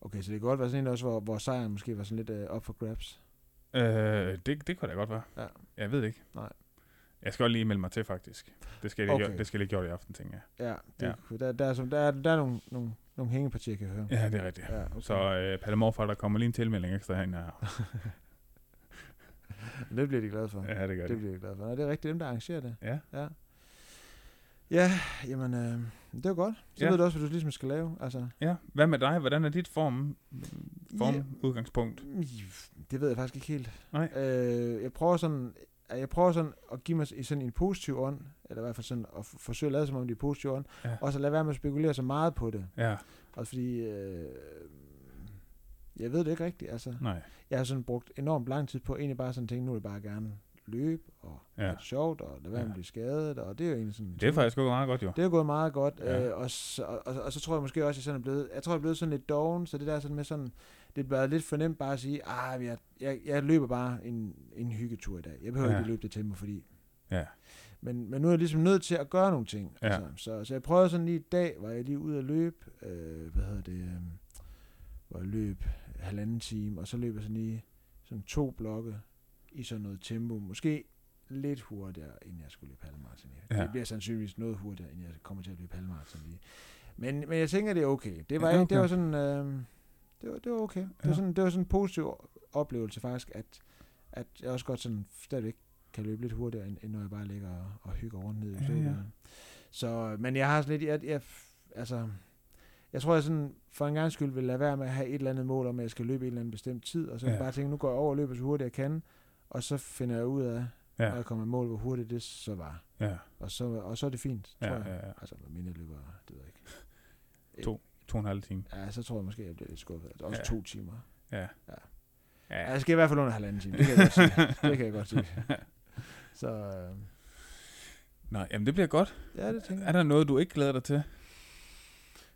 Speaker 2: okay, så det kan godt være sådan en også, hvor, hvor sejren måske var sådan lidt øh, op for grabs.
Speaker 1: Øh, det, det kunne da godt være.
Speaker 2: Ja.
Speaker 1: Jeg ved det ikke.
Speaker 2: Nej.
Speaker 1: Jeg skal også lige melde mig til, faktisk. Det skal jeg lige,
Speaker 2: Okay.
Speaker 1: okay. det skal jeg lige gjort i aften, tænker jeg.
Speaker 2: Ja, det,
Speaker 1: Ja.
Speaker 2: ja. Der, der, er, som, der, er, der er nogle, nogle, nogle hængepartier, kan jeg høre.
Speaker 1: Ja, det er rigtigt.
Speaker 2: Ja, okay.
Speaker 1: Så øh, Palle Morfar, der kommer lige en tilmelding ekstra herinde. her.
Speaker 2: Altså, Det bliver de glade for.
Speaker 1: Ja, det gør
Speaker 2: det
Speaker 1: det.
Speaker 2: bliver de glade for. Nå, det er rigtigt dem, der arrangerer det.
Speaker 1: Ja.
Speaker 2: Ja, ja jamen, øh, det var godt. Så
Speaker 1: Ja.
Speaker 2: ja. ved du også, hvad du ligesom skal lave. Altså,
Speaker 1: Ja, hvad med dig? Hvordan er dit form, form
Speaker 2: Ja.
Speaker 1: udgangspunkt?
Speaker 2: det ved jeg faktisk ikke helt.
Speaker 1: Nej.
Speaker 2: Øh, jeg prøver sådan at jeg prøver sådan at give mig i sådan en positiv ånd, eller i hvert fald sådan at f- forsøge at lade som om det er positiv ånd,
Speaker 1: Ja.
Speaker 2: ja. og så lade være med at spekulere så meget på det.
Speaker 1: Ja,
Speaker 2: Også fordi, øh, jeg ved det ikke rigtigt. Altså,
Speaker 1: nej.
Speaker 2: jeg har sådan brugt enormt lang tid på egentlig bare sådan at tænke, nu vil jeg bare gerne løbe, og
Speaker 1: Ja.
Speaker 2: ja. have det sjovt, og lade være med
Speaker 1: Ja.
Speaker 2: at blive skadet, og det er jo egentlig sådan...
Speaker 1: Det er faktisk gået meget godt, jo.
Speaker 2: Det er gået meget godt,
Speaker 1: Ja.
Speaker 2: ja. øh, og, så, og, og, og, så tror jeg måske også, at jeg sådan er blevet, jeg tror, jeg er blevet sådan lidt doven, så det der sådan med sådan, det er blevet lidt for nemt bare at sige, ah, jeg, jeg, jeg løber bare en, en hyggetur i dag. Jeg behøver
Speaker 1: Ja.
Speaker 2: ja. ikke løbe det tempo, fordi...
Speaker 1: Ja.
Speaker 2: Men, men nu er jeg ligesom nødt til at gøre nogle ting.
Speaker 1: Ja.
Speaker 2: Altså. Så, så jeg prøvede sådan lige i dag, var jeg lige ude at løbe, øh, hvad hedder det, øh, hvor jeg løb halvanden time, og så løb jeg sådan lige sådan to blokke i sådan noget tempo. Måske lidt hurtigere, end jeg skulle løbe halvmarathon. Ja.
Speaker 1: Ja.
Speaker 2: Det bliver sandsynligvis noget hurtigere, end jeg kommer til at løbe halvmarathon lige. Men, men jeg tænker, det er okay. Det var,
Speaker 1: Ja, det er
Speaker 2: ja, okay.
Speaker 1: okay.
Speaker 2: det var sådan... Øh, det var, det var okay. Det,
Speaker 1: Ja.
Speaker 2: var sådan, det var sådan en positiv oplevelse faktisk, at, at jeg også godt sådan stadigvæk kan løbe lidt hurtigere, end, end når jeg bare ligger og, og hygger rundt ned i
Speaker 1: Ja, ja.
Speaker 2: ja, ja. Så, men jeg har sådan lidt, jeg, jeg, altså, jeg tror, jeg sådan for en gang skyld vil lade være med at have et eller andet mål om, at jeg skal løbe en eller anden bestemt tid, og så
Speaker 1: Ja.
Speaker 2: ja. bare tænke, nu går jeg over og løber så hurtigt jeg kan, og så finder jeg ud af,
Speaker 1: Ja.
Speaker 2: ja. når jeg kommer i mål, hvor hurtigt det så var.
Speaker 1: Ja,
Speaker 2: Og så, og så er det fint, tror
Speaker 1: ja,
Speaker 2: jeg.
Speaker 1: ja. ja.
Speaker 2: Altså, med mindre løber, det ved jeg ikke.
Speaker 1: To og en halv time.
Speaker 2: Ja, så tror jeg måske, jeg bliver lidt skuffet. Altså, Også
Speaker 1: Ja.
Speaker 2: ja. to timer.
Speaker 1: Ja.
Speaker 2: Ja. Ja,
Speaker 1: Ja,
Speaker 2: jeg skal i hvert fald under halvanden time. Det kan jeg godt
Speaker 1: (laughs)
Speaker 2: sige. Det kan jeg godt sige. Så øh,
Speaker 1: nej, jamen det bliver godt.
Speaker 2: ja, det tænker
Speaker 1: Er
Speaker 2: jeg.
Speaker 1: der noget, du ikke glæder dig til?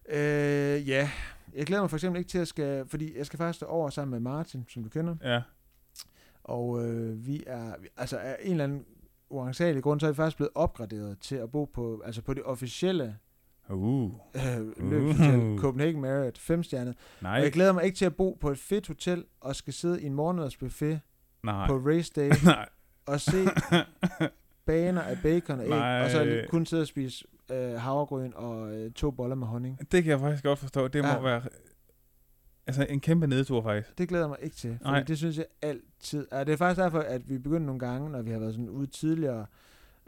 Speaker 2: Øh, ja, jeg glæder mig for eksempel ikke til at skal, fordi jeg skal faktisk over sammen med Martin, som du kender,
Speaker 1: Ja,
Speaker 2: og øh, vi er, vi- altså af en eller anden uansagelig grund, så er vi faktisk blevet opgraderet til at bo på, altså på det officielle
Speaker 1: uh,
Speaker 2: øh, løbshotel,
Speaker 1: Uh.
Speaker 2: Copenhagen Marriott, femstjernet.
Speaker 1: nej,
Speaker 2: Og jeg glæder mig ikke til at bo på et fedt hotel og skal sidde i en morgenmadsbuffet
Speaker 1: nej,
Speaker 2: på race day
Speaker 1: (laughs) nej,
Speaker 2: og se baner af bacon og æg,
Speaker 1: Nej.
Speaker 2: og så kun sidde og spise øh, havregryn og øh, to boller med honning.
Speaker 1: det kan jeg faktisk godt forstå. Det må
Speaker 2: Ja.
Speaker 1: være altså en kæmpe nedtur, faktisk.
Speaker 2: Det glæder jeg mig ikke til, for
Speaker 1: Nej.
Speaker 2: det synes jeg altid. Og det er faktisk derfor, at vi begyndte nogle gange, når vi har været sådan ude tidligere,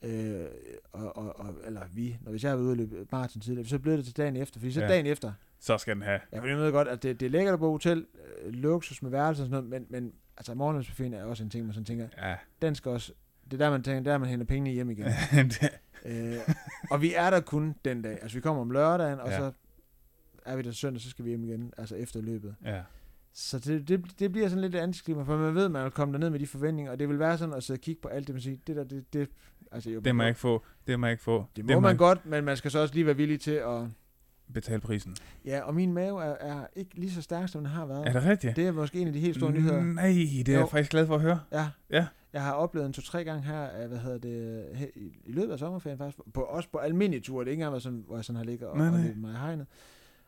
Speaker 2: øh, og, og, og, eller vi, når hvis jeg har været ude og løbe maraton tidligere, så bliver det til dagen efter, fordi så
Speaker 1: Ja.
Speaker 2: ja. dagen efter,
Speaker 1: Så skal den have.
Speaker 2: ja, for jeg ved godt, at det, det er lækkert at bo i hotel, øh, luksus med værelser og sådan noget, men, men altså morgenmadsbuffeten er også en ting, man sådan tænker,
Speaker 1: Ja,
Speaker 2: den skal også, det er der, man tænker, der man henter pengene hjem igen.
Speaker 1: det-
Speaker 2: Øh, og vi er der kun den dag. Altså, vi kommer om lørdagen, og
Speaker 1: Ja.
Speaker 2: ja. så er vi der søndag, så skal vi hjem igen, altså efter løbet.
Speaker 1: ja.
Speaker 2: Så det, det, det bliver sådan lidt et antiklimat, for man ved, man vil komme derned med de forventninger, og det vil være sådan at sidde og kigge på alt det, man siger, det der, det, det, altså, jo,
Speaker 1: Det må jeg ikke få. Det må jeg ikke få.
Speaker 2: Det må man godt, men man skal så også lige være villig til at...
Speaker 1: ikke betale prisen.
Speaker 2: Ja, og min mave er, er ikke lige så stærk, som den har været.
Speaker 1: Er det rigtigt?
Speaker 2: Det er måske en af de helt store nyheder.
Speaker 1: Nej, det er
Speaker 2: Jo.
Speaker 1: jeg faktisk glad for at høre.
Speaker 2: Ja.
Speaker 1: Ja.
Speaker 2: Jeg har oplevet en to-tre gange her, af, hvad hedder det, her, i, i løbet af sommerferien faktisk, på, også på almindelige ture, det er ikke engang, hvor, sådan, hvor jeg sådan har ligget og,
Speaker 1: Nej,
Speaker 2: og
Speaker 1: nej.
Speaker 2: løbet mig i hegnet.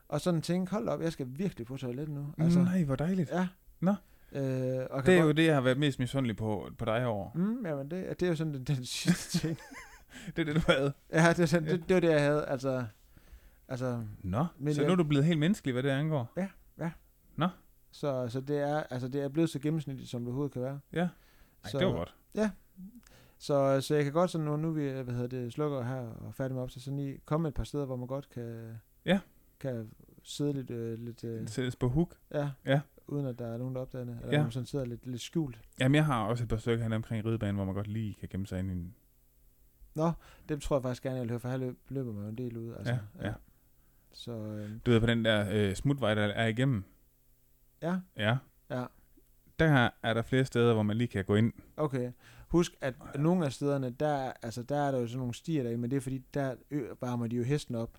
Speaker 2: Og sådan tænke, hold da op, jeg skal virkelig på toilettet nu.
Speaker 1: Altså, Nej, hvor dejligt.
Speaker 2: Ja.
Speaker 1: Nå.
Speaker 2: Øh, og kan
Speaker 1: Det er jo
Speaker 2: godt-
Speaker 1: det, jeg har været mest misundelig på, på dig over.
Speaker 2: Mm, jamen, det, det er jo sådan (laughs) den, den sidste ting.
Speaker 1: Det er det, du havde.
Speaker 2: ja, det, er sådan, det, det var det, jeg havde. Altså, altså
Speaker 1: Nå,
Speaker 2: Men
Speaker 1: så
Speaker 2: jeg-
Speaker 1: nu er du blevet helt menneskelig, hvad det angår.
Speaker 2: så, så det, er, altså, det er blevet så gennemsnitligt, som det overhovedet kan være.
Speaker 1: Ja. Ej,
Speaker 2: Så-
Speaker 1: det var godt.
Speaker 2: Så, så jeg kan godt sådan, nu, nu vi hvad hedder det, slukker her og er færdig med op, så sådan lige komme et par steder, hvor man godt kan,
Speaker 1: Ja.
Speaker 2: kan sidde lidt, øh, lidt øh,
Speaker 1: Den sættes på hook.
Speaker 2: ja,
Speaker 1: Ja.
Speaker 2: uden at der er nogen, der opdager det. Eller
Speaker 1: Ja.
Speaker 2: ja. nogen, som sidder lidt, lidt skjult.
Speaker 1: Jamen, jeg har også et par stykker hernede omkring ridebanen, hvor man godt lige kan gemme sig ind i en...
Speaker 2: Dem tror jeg faktisk gerne, jeg vil høre, for her løb, løber man jo en del ud. Altså.
Speaker 1: Ja, ja.
Speaker 2: Så øh,
Speaker 1: Du ved, på den der øh, smutvej, der er igennem.
Speaker 2: ja,
Speaker 1: Ja.
Speaker 2: Ja.
Speaker 1: Der er der flere steder, hvor man lige kan gå ind.
Speaker 2: okay. Husk, at nogle af stederne, der, altså, der er der jo sådan nogle stier derinde, men det er fordi, der ø- varmer de jo hesten op.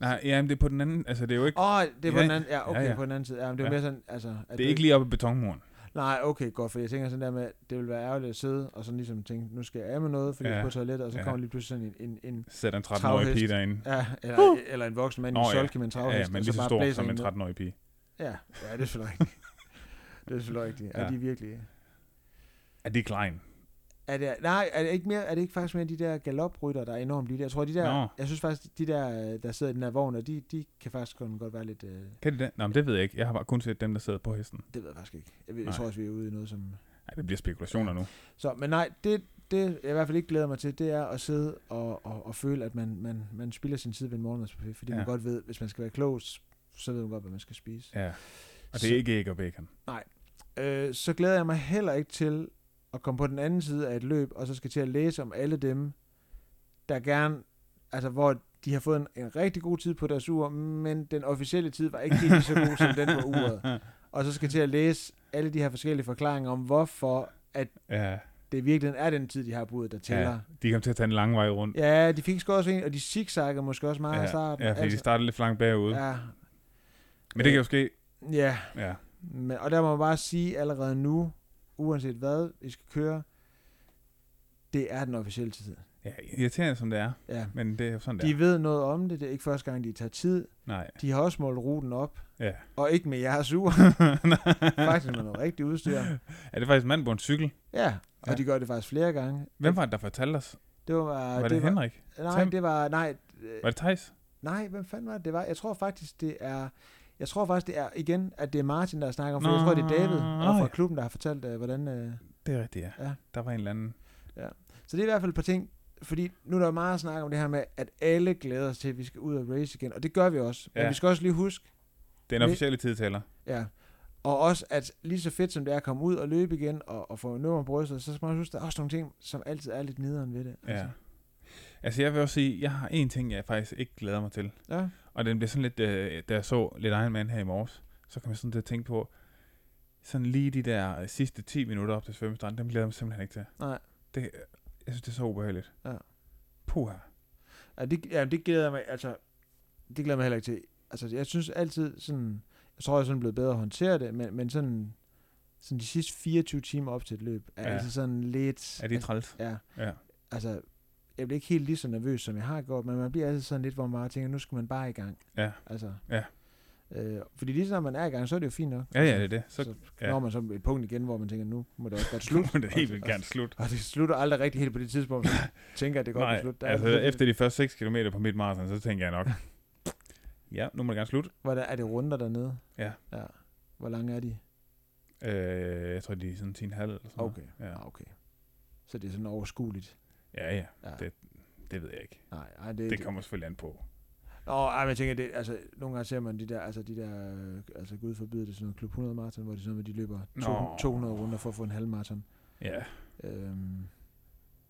Speaker 1: Nej, ja, men det er på den anden... Altså, det er jo ikke,
Speaker 2: Åh, oh, det er på
Speaker 1: Ja,
Speaker 2: den anden, ja, okay, ja,
Speaker 1: ja.
Speaker 2: ja. på den anden side. Ja, men det er
Speaker 1: Ja.
Speaker 2: ja. mere sådan, altså... At
Speaker 1: det
Speaker 2: du
Speaker 1: er ikke lige oppe i betonmuren.
Speaker 2: Nej, okay, godt, for jeg tænker sådan der med, at det vil være ærgerligt at sidde, og sådan ligesom tænke, nu skal jeg af med noget, fordi
Speaker 1: Ja,
Speaker 2: jeg er på toilettet, og så
Speaker 1: ja.
Speaker 2: kommer lige pludselig sådan en, en, en
Speaker 1: Sætter en 13-årig
Speaker 2: Travhest.
Speaker 1: pige derinde.
Speaker 2: ja, eller, eller en voksen mand i
Speaker 1: Nå,
Speaker 2: en
Speaker 1: ja.
Speaker 2: solke med en
Speaker 1: Ja, ja,
Speaker 2: travhest,
Speaker 1: men
Speaker 2: og
Speaker 1: lige så
Speaker 2: bare
Speaker 1: stor
Speaker 2: blæser
Speaker 1: som
Speaker 2: en
Speaker 1: en
Speaker 2: ned.
Speaker 1: 13-årig pige.
Speaker 2: Ja, ja, det er selvfølgelig rigtigt. (laughs) det er selvfølgelig rigtigt. Ja.
Speaker 1: Ja.
Speaker 2: Er de virkelig...
Speaker 1: Er det Klein?
Speaker 2: Er det, nej, er det, ikke mere, er det ikke faktisk mere de der galoprytter, der er enormt lige der? Jeg tror, de der...
Speaker 1: Nå.
Speaker 2: Jeg synes faktisk, de der, øh, der sidder i den her vogn, og de, de kan faktisk kun godt være lidt... Øh,
Speaker 1: Kan det det? Nå, men det ved jeg ikke. Jeg har bare kun set dem, der sidder på hesten.
Speaker 2: det ved jeg faktisk ikke. Jeg, ved,
Speaker 1: Nej.
Speaker 2: jeg tror også, vi er ude i noget, som...
Speaker 1: Ej, det bliver spekulationer nu.
Speaker 2: Så, men nej, det, det jeg i hvert fald ikke glæder mig til, det er at sidde og, og, og føle, at man, man, man spilder sin tid ved en morgenmadsbuffet, fordi ja.
Speaker 1: Ja.
Speaker 2: man godt ved, hvis man skal være klog, s- så ved man godt, hvad man skal spise.
Speaker 1: Ja. Og det er ikke æg og bacon.
Speaker 2: Øh, så glæder jeg mig heller ikke til at komme på den anden side af et løb, og så skal til at læse om alle dem, der gerne, altså hvor de har fået en, en rigtig god tid på deres ur, men den officielle tid var ikke helt lige så god som den på uret.
Speaker 1: (laughs)
Speaker 2: Og så skal til at læse alle de her forskellige forklaringer om, hvorfor
Speaker 1: Ja.
Speaker 2: det virkelig er den tid, de har på uret, der tæller.
Speaker 1: ja. De kom til at tage en lang vej rundt.
Speaker 2: Ja, de fik sgu også en, og de zigzaggede måske også meget i
Speaker 1: ja,
Speaker 2: starten. Altså,
Speaker 1: ja fordi de startede lidt for langt bagud.
Speaker 2: ja,
Speaker 1: Men det kan jo ske.
Speaker 2: ja.
Speaker 1: Ja.
Speaker 2: Men, og der må man bare sige allerede nu, uanset hvad I skal køre, det er den officielle tid.
Speaker 1: ja, irriterende som det er.
Speaker 2: Ja.
Speaker 1: Men det er jo sådan, det
Speaker 2: De
Speaker 1: er.
Speaker 2: ved noget om det, det er ikke første gang, de tager tid.
Speaker 1: Nej.
Speaker 2: De har også målt ruten op,
Speaker 1: Ja.
Speaker 2: og ikke med
Speaker 1: (laughs)
Speaker 2: jeres ur, faktisk med noget rigtigt udstyr.
Speaker 1: er det faktisk en mand på en cykel?
Speaker 2: Ja, og
Speaker 1: Ja.
Speaker 2: ja. de gør det faktisk flere gange.
Speaker 1: Hvem var det, der fortalte os?
Speaker 2: Det var,
Speaker 1: Var det, det
Speaker 2: var,
Speaker 1: Henrik?
Speaker 2: Nej,
Speaker 1: Tam?
Speaker 2: det var, nej, øh,
Speaker 1: Var det Thijs?
Speaker 2: Nej, hvem fanden var det, det var? Jeg tror faktisk, det er... Jeg tror faktisk, det er igen, at det er Martin, der snakker om, for
Speaker 1: Nå,
Speaker 2: jeg tror, det er David og
Speaker 1: ja.
Speaker 2: fra klubben, der har fortalt, øh, hvordan... Øh,
Speaker 1: Det er rigtigt, ja.
Speaker 2: Ja.
Speaker 1: Der var en eller anden.
Speaker 2: så det er i hvert fald et par ting, fordi nu er der jo meget snak om det her med, at alle glæder sig til, at vi skal ud og race igen, og det gør vi også. Men
Speaker 1: Ja.
Speaker 2: vi skal også lige huske,
Speaker 1: Den
Speaker 2: Men-
Speaker 1: officielle tidtæller.
Speaker 2: ja, og også, at lige så fedt som det er at komme ud og løbe igen og, og få nummer på brystet, så skal man også huske, at der er også nogle ting, som altid er lidt nederen ved det. altså.
Speaker 1: Ja. Altså, jeg vil også sige, jeg har en ting, jeg faktisk ikke glæder mig til.
Speaker 2: ja.
Speaker 1: Og den blev sådan lidt, øh, da jeg så lidt Iron Man her i morges, så kom jeg sådan til at tænke på, sådan lige de der øh, sidste 10 minutter op til svømmestranden, dem glæder jeg mig simpelthen ikke til.
Speaker 2: Nej.
Speaker 1: Det, øh, jeg synes, det er så ubehageligt.
Speaker 2: Ja.
Speaker 1: Puha.
Speaker 2: Ja, det, ja, det glæder jeg mig, altså, det glæder jeg mig heller ikke til. Altså, jeg synes altid sådan, jeg tror, jeg er sådan blevet bedre at håndtere det, men, men sådan, sådan de sidste 24 timer op til et løb, er
Speaker 1: Ja.
Speaker 2: ja. altså sådan lidt...
Speaker 1: Er det
Speaker 2: altså,
Speaker 1: træls?
Speaker 2: ja,
Speaker 1: Ja.
Speaker 2: altså, jeg bliver ikke helt lige så nervøs, som jeg har gjort, men man bliver altid sådan lidt, hvor man bare tænker, nu skal man bare i gang.
Speaker 1: Ja.
Speaker 2: Altså,
Speaker 1: Ja.
Speaker 2: Øh, fordi lige så når man er i gang, så er det jo fint nok.
Speaker 1: Ja, ja, det er det. Så,
Speaker 2: Så, så
Speaker 1: ja.
Speaker 2: når man så et punkt igen, hvor man tænker, nu må det også godt
Speaker 1: slut. (laughs)
Speaker 2: slutte.
Speaker 1: det er helt
Speaker 2: Og-
Speaker 1: vildt
Speaker 2: og-
Speaker 1: gerne slut.
Speaker 2: Og det slutter aldrig rigtig helt på det tidspunkt, man tænker, at det godt
Speaker 1: Nej,
Speaker 2: er slut. Der er
Speaker 1: altså,
Speaker 2: sådan lidt-
Speaker 1: efter de første 6 km på mit marathon, så tænker jeg nok, ja, nu må det gerne slut.
Speaker 2: Hvor der, er det runder dernede?
Speaker 1: Ja.
Speaker 2: ja. Hvor lange er de?
Speaker 1: Øh, jeg tror, de er sådan 10,5 eller sådan noget.
Speaker 2: Okay.
Speaker 1: Ja,
Speaker 2: Ah, okay. Så det er sådan overskueligt.
Speaker 1: ja, ja.
Speaker 2: Ja.
Speaker 1: Det- det ved jeg ikke.
Speaker 2: Nej, ej, det,
Speaker 1: Det kommer selvfølgelig an på.
Speaker 2: Nå, ej, men jeg tænker, det, altså, nogle gange ser man de der, altså de der, øh, altså gud forbyde det, sådan noget klub 100 maraton, hvor det er sådan, at de løber
Speaker 1: Nå.
Speaker 2: 200, 200 runder for at få en halv maraton.
Speaker 1: Ja,
Speaker 2: Øhm,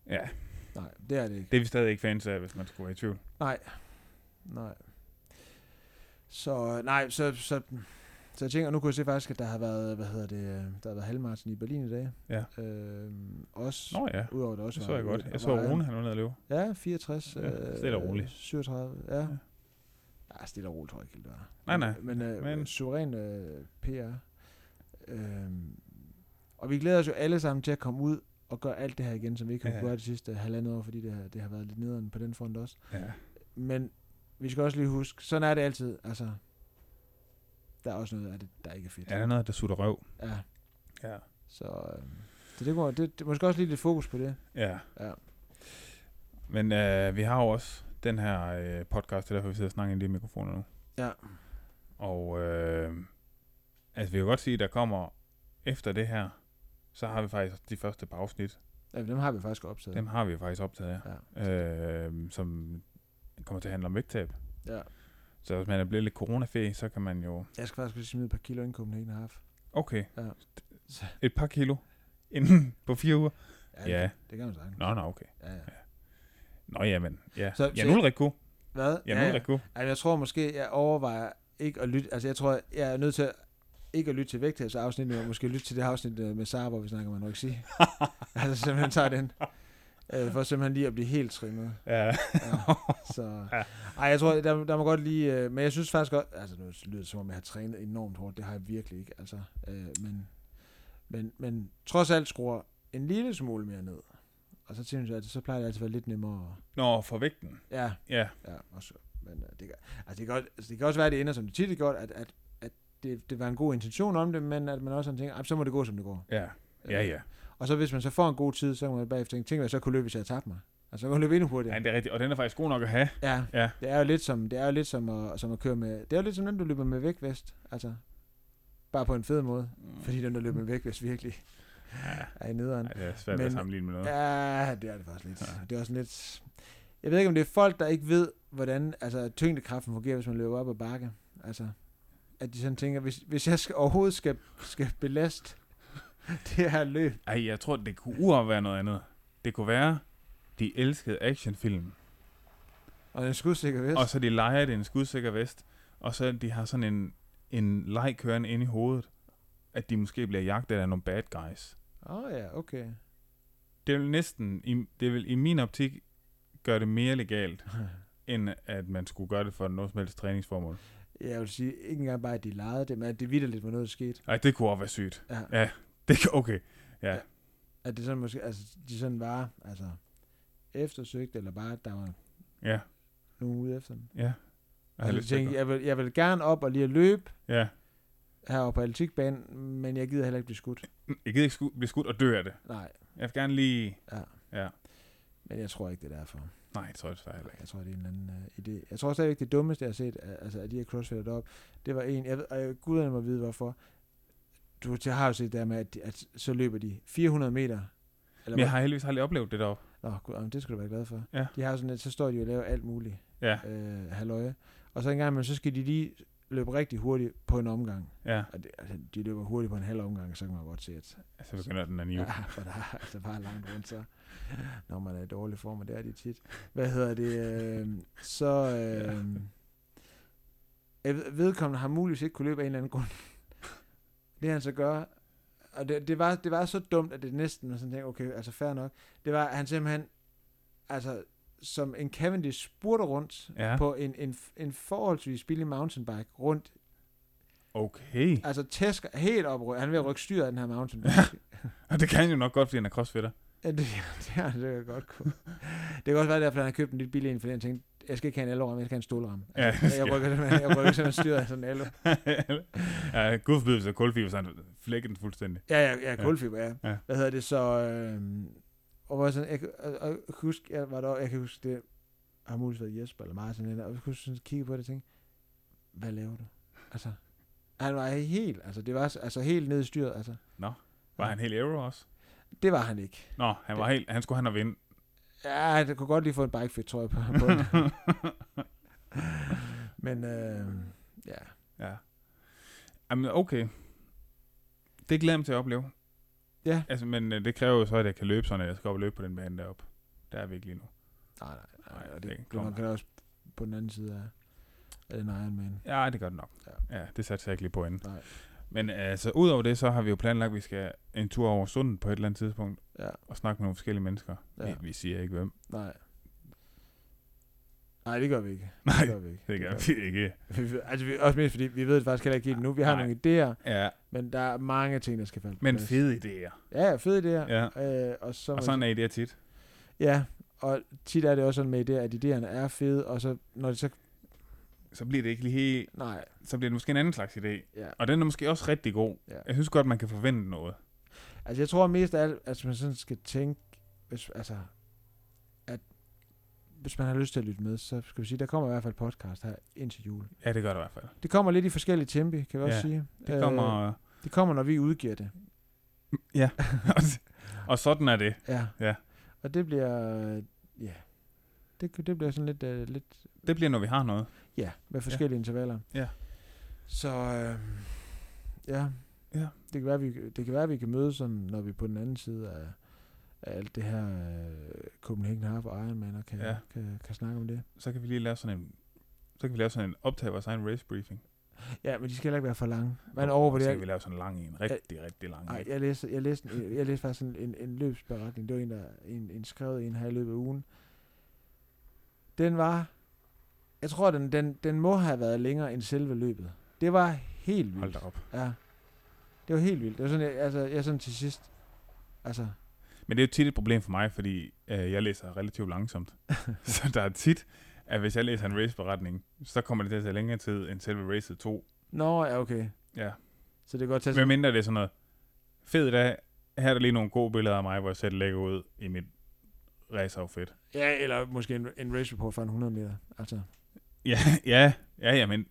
Speaker 1: ja.
Speaker 2: nej, det er det ikke.
Speaker 1: Det er vi stadig ikke fans af, hvis man skulle være i tvivl.
Speaker 2: Nej, nej. Så, nej, så, så, så jeg tænker, nu kunne jeg se faktisk, at der har været, hvad hedder det, øh, der har været halvmaraton i Berlin i dag.
Speaker 1: Ja.
Speaker 2: Øhm, også,
Speaker 1: Nå ja,
Speaker 2: udover det også
Speaker 1: det så
Speaker 2: var
Speaker 1: jeg godt.
Speaker 2: ude-
Speaker 1: Jeg så
Speaker 2: var-
Speaker 1: Rune, han var nede og løbe.
Speaker 2: Ja, 64.
Speaker 1: Ja, stille og roligt.
Speaker 2: 37, ja.
Speaker 1: Ja.
Speaker 2: ja. Ja, stille og roligt tror jeg ikke helt, det var.
Speaker 1: Nej, nej.
Speaker 2: Men,
Speaker 1: Men-
Speaker 2: øh, men... suveræn øh, PR. Øhm, og vi glæder os jo alle sammen til at komme ud og gøre alt det her igen, som vi ikke har
Speaker 1: Ja.
Speaker 2: ja. gjort de sidste halvandet år, fordi det har, det har været lidt nederen på den front også.
Speaker 1: Ja.
Speaker 2: Men vi skal også lige huske, sådan er det altid. Altså, der er også noget af det, der ikke er fedt.
Speaker 1: ja, der er noget, der sutter røv.
Speaker 2: ja.
Speaker 1: Ja.
Speaker 2: Så, øh, så det, må, det, det, måske også lige lidt fokus på det.
Speaker 1: Ja.
Speaker 2: Ja.
Speaker 1: Men øh, vi har jo også den her øh, podcast, det er derfor, vi sidder og snakker ind i de mikrofoner nu.
Speaker 2: Ja.
Speaker 1: Og øh, altså, vi kan godt sige, at der kommer efter det her, så har vi faktisk de første par afsnit.
Speaker 2: Ja, dem har vi faktisk optaget.
Speaker 1: Dem har vi jo faktisk optaget,
Speaker 2: Ja.
Speaker 1: ja. Øh, som kommer til at handle om vægttab.
Speaker 2: ja.
Speaker 1: Så hvis man er blevet lidt coronafæg, så kan man jo...
Speaker 2: Jeg skal faktisk lige smide et par kilo ind i Copenhagen Half.
Speaker 1: Okay,
Speaker 2: Ja.
Speaker 1: et par kilo inden på fire uger.
Speaker 2: det-
Speaker 1: Ja.
Speaker 2: Det kan man sagtens.
Speaker 1: Nå, nå, okay.
Speaker 2: Ja, ja.
Speaker 1: Nå, jamen. Ja,
Speaker 2: Så-
Speaker 1: så,
Speaker 2: så-
Speaker 1: ja nu er det rigtig god.
Speaker 2: Hvad?
Speaker 1: Ja, nu er det rigtig god.
Speaker 2: Altså, jeg tror måske, jeg overvejer ikke at lytte... Altså, jeg tror, jeg er nødt til at, ikke at lytte til vægttabsafsnittet, men måske lytte til det afsnit øh, med Sara, hvor vi snakker om
Speaker 1: (laughs)
Speaker 2: anoreksi. altså, simpelthen tager den. Øh, for simpelthen lige at blive helt trimmet.
Speaker 1: Ja. (laughs)
Speaker 2: Ja, så. Ej, jeg tror, der, der må godt lige... Øh, men jeg synes faktisk godt... Altså, nu lyder det som om, jeg har trænet enormt hårdt. Det har jeg virkelig ikke, altså. Øh, men, men, men trods alt skruer en lille smule mere ned. Og så synes jeg, at det, så plejer det altid at være lidt nemmere. at-
Speaker 1: Nå, for vægten.
Speaker 2: Ja,
Speaker 1: Ja,
Speaker 2: Ja, også, men øh, det kan, altså det, kan også, altså det kan også være, at det ender, som det tit er godt, at, at, at det, det var en god intention om det, men at man også sådan tænker, "Ej, så må det gå, som det går.
Speaker 1: ja, ja, ja.
Speaker 2: Og så hvis man så får en god tid, så kan man bagefter tænke, tænk, hvad jeg så kunne løbe, hvis jeg havde tabt mig. Altså, så kunne jeg løbe endnu
Speaker 1: ja
Speaker 2: hurtigere.
Speaker 1: det er rigtigt. Og den er faktisk god nok at have.
Speaker 2: Ja,
Speaker 1: Ja.
Speaker 2: det er jo lidt som, det er jo lidt som, at, som at køre med, det er jo lidt som den, du løber med vægtvest, altså. Bare på en fed måde, fordi den, der løber med vægtvest virkelig er i nederen.
Speaker 1: Nej, det er svært at
Speaker 2: Men-
Speaker 1: sammenligne med noget.
Speaker 2: Ja, det er det faktisk lidt.
Speaker 1: Ja.
Speaker 2: Ja. Det er også sådan lidt... Jeg ved ikke, om det er folk, der ikke ved, hvordan altså, tyngdekraften fungerer, hvis man løber op ad bakke. Altså, at de sådan tænker, hvis, hvis jeg skal, overhovedet skal, skal belaste (laughs) det her løb.
Speaker 1: Ej, jeg tror, det kunne uaf være noget andet. Det kunne være, de elskede actionfilm.
Speaker 2: Og den skudsikker vest.
Speaker 1: Og så de leger det i en skudsikker vest. Og så de har sådan en, en leg kørende inde i hovedet. At de måske bliver jagtet af nogle bad guys.
Speaker 2: Åh oh, ja, okay.
Speaker 1: Det vil næsten, i, det vil i min optik, gøre det mere
Speaker 2: (laughs)
Speaker 1: legalt, end at man skulle gøre det for noget som helst træningsformål.
Speaker 2: Jeg vil sige, ikke engang bare, at de legede det, men at det vidderligt var noget, der skete.
Speaker 1: Ej, det kunne også være sygt.
Speaker 2: Ja.
Speaker 1: Det kan, okay. Ja.
Speaker 2: At det sådan måske, altså, de sådan var, altså, eftersøgt, eller bare, at der var
Speaker 1: Ja.
Speaker 2: nogen ude efter dem.
Speaker 1: Ja. Jeg har
Speaker 2: Altså,
Speaker 1: lyst
Speaker 2: de
Speaker 1: til at
Speaker 2: tænkte,
Speaker 1: gøre-
Speaker 2: jeg vil, jeg vil gerne op og lige at løbe,
Speaker 1: Ja.
Speaker 2: heroppe på atletikbanen, men jeg gider heller ikke blive skudt.
Speaker 1: Jeg gider ikke sku- blive skudt og dø af det.
Speaker 2: Nej,
Speaker 1: Jeg vil gerne lige...
Speaker 2: men jeg tror ikke, det er derfor.
Speaker 1: Nej, det tror jeg desværre heller ikke.
Speaker 2: Jeg tror, det er en eller anden uh, idé. Jeg tror stadigvæk, det dummeste, jeg har set er, altså, af de her crossfitter deroppe, det var en, jeg ved, og jeg guderne må vide, hvorfor. Du jeg har jo set der med, at, de- at så løber de 400 meter. Eller
Speaker 1: Men jeg har heldigvis aldrig oplevet det deroppe.
Speaker 2: hvad? Nå, gud, jamen, det skal du være glad for.
Speaker 1: Ja.
Speaker 2: De har jo sådan, at så står de og laver alt muligt.
Speaker 1: Ja,
Speaker 2: Øh, halløje. Og så en gang, men så skal de lige løbe rigtig hurtigt på en omgang.
Speaker 1: ja.
Speaker 2: Og det, altså, de løber hurtigt på en halv omgang, så kan man godt se, at
Speaker 1: Så begynder den anden jo.
Speaker 2: Ja, (laughs) for der er altså bare langt rundt, så når man er i dårlig form, og det er de tit. Hvad hedder det? Øh, så øh, jeg ved- vedkommende har muligvis ikke kunne løbe af en eller anden grund. Det han så gør, og det, det, var, det var så dumt, at det næsten var sådan tænkte, okay, altså fair nok. Det var, at han simpelthen, altså som en Cavendish spurgte rundt
Speaker 1: Ja,
Speaker 2: på en, en, en forholdsvis billig mountainbike rundt.
Speaker 1: okay.
Speaker 2: Altså tæsker helt op, han er ved at rykke styret af den her mountainbike.
Speaker 1: Og det kan han jo nok godt, fordi han er crossfitter.
Speaker 2: Ja, det, (laughs) det, har det kan jeg godt kunne. Det kan også være derfor, han har købt en lidt billig en, fordi han tænkte, jeg skal ikke have en aluramme, jeg skal have en stålramme.
Speaker 1: (laughs) Ja,
Speaker 2: Altså,
Speaker 1: det skal
Speaker 2: jeg rykker simpelthen, jeg rykker simpelthen styret af sådan en alu.
Speaker 1: (laughs) ja, gud forbyde, så kulfiber, så han flækker den fuldstændig.
Speaker 2: Ja, ja, ja, kulfiber, ja.
Speaker 1: Ja.
Speaker 2: ja. Hvad hedder det så? Øhm, og hvor jeg sådan, jeg, kan- og, og, jeg kan huske, jeg, var der, jeg kan huske, det har muligvis været Jesper eller Martin, eller, og jeg kunne sådan kigge på det og tænke, hvad laver du? Altså, han var helt, altså det var så- altså helt nede i styret, altså.
Speaker 1: Var han helt aero også?
Speaker 2: Det var han ikke.
Speaker 1: Nå, han, var helt, han skulle han have vinde.
Speaker 2: Ja, det kunne godt lige få en bikefit, tror jeg, på,
Speaker 1: (laughs)
Speaker 2: på det. Men øh, ja,
Speaker 1: Ja. Jamen, okay. Det glæder jeg mig til at opleve.
Speaker 2: Ja.
Speaker 1: Altså, men øh, det kræver jo så, at jeg kan løbe sådan, at jeg skal op og løbe på den bane deroppe. Der er vi ikke lige nu.
Speaker 2: nej, nej, nej,
Speaker 1: Nej,
Speaker 2: og
Speaker 1: det
Speaker 2: det, det
Speaker 1: kommer.
Speaker 2: man kan også på den anden side af, af den Ironman.
Speaker 1: Ja, det gør det nok. Ja, ja det satte jeg ikke lige på inden.
Speaker 2: Nej,
Speaker 1: Men altså, udover det, så har vi jo planlagt, at vi skal en tur over sundet på et eller andet tidspunkt
Speaker 2: ja,
Speaker 1: og snakke med nogle forskellige mennesker. Ja.
Speaker 2: Ja.
Speaker 1: Vi, vi siger ikke hvem.
Speaker 2: nej. Nej, det gør vi ikke.
Speaker 1: Nej,
Speaker 2: det gør vi ikke.
Speaker 1: det gør vi ikke.
Speaker 2: vi. vi. Altså, vi, også mest fordi, vi ved det faktisk heller ikke helt nu. Vi har
Speaker 1: Nej.
Speaker 2: nogle idéer,
Speaker 1: Ja,
Speaker 2: men der er mange ting, der skal falde på
Speaker 1: men
Speaker 2: plads.
Speaker 1: fede idéer.
Speaker 2: Ja, fede idéer.
Speaker 1: Ja.
Speaker 2: Øh, og, så må
Speaker 1: Og
Speaker 2: vi-
Speaker 1: sådan er idéer tit.
Speaker 2: Ja, og tit er det også sådan med idéer, at idéerne er fede, og så når det så...
Speaker 1: Så bliver det ikke lige helt...
Speaker 2: Nej,
Speaker 1: Så bliver det måske en anden slags idé.
Speaker 2: ja.
Speaker 1: Og den er måske også rigtig god.
Speaker 2: Ja.
Speaker 1: Jeg synes godt, man kan forvente noget.
Speaker 2: Altså, jeg tror mest af alt, at man sådan skal tænke, hvis, altså, at hvis man har lyst til at lytte med, så skal vi sige, der kommer i hvert fald podcast her indtil jul.
Speaker 1: Ja, det gør det i hvert fald.
Speaker 2: Det kommer lidt i forskellige tempi,
Speaker 1: Ja,
Speaker 2: kan vi Øh. også sige.
Speaker 1: Det kommer...
Speaker 2: Øh, det kommer, når vi udgiver det.
Speaker 1: Ja. (laughs) Og sådan er det.
Speaker 2: Ja.
Speaker 1: Ja.
Speaker 2: Og det bliver, øh, ja, det, det bliver sådan lidt, øh, lidt
Speaker 1: Det bliver, når vi har noget.
Speaker 2: ja, med forskellige ja. intervaller.
Speaker 1: Ja.
Speaker 2: Så, øh, ja.
Speaker 1: Ja.
Speaker 2: Det kan være, vi, det kan være, vi kan mødes sådan, når vi er på den anden side af, af alt det her øh, Copenhagen Half og Ironman, og kan,
Speaker 1: Ja.
Speaker 2: ja. kan, kan snakke om det.
Speaker 1: Så kan vi lige lave sådan en så kan vi lave sådan en optag af vores egen race briefing.
Speaker 2: Ja, men de skal heller ikke være for lange. Man
Speaker 1: Og-
Speaker 2: overvurderer
Speaker 1: og så kan
Speaker 2: ikke-
Speaker 1: vi lave sådan en lang en. Rigtig, rigtig lang
Speaker 2: Ej,
Speaker 1: en.
Speaker 2: jeg læste, jeg læste, en, jeg læste faktisk en, en, en løbsberetning. Det var en, der en, en skrevet en her i løbet af ugen. Den var... Jeg tror, den, den, den må have været længere end selve løbet. Det var helt vildt.
Speaker 1: Hold da op.
Speaker 2: Ja. Det var helt vildt. Det var sådan, jeg, altså, jeg sådan til sidst... Altså,
Speaker 1: Men det er jo tit et problem for mig, fordi øh, jeg læser relativt langsomt. så der er tit, at hvis jeg læser en raceberetning, så kommer det til at tage længere tid end selve racet 2.
Speaker 2: nå, ja, okay.
Speaker 1: Ja.
Speaker 2: Så det kan godt tage...
Speaker 1: Hvad mindre det er sådan noget, fed dag, her er der lige nogle gode billeder af mig, hvor jeg selv lægger ud i mit raceoutfit.
Speaker 2: Ja, eller måske en, en race report fra en 100 meter. Altså,
Speaker 1: Ja, ja, ja, ja, men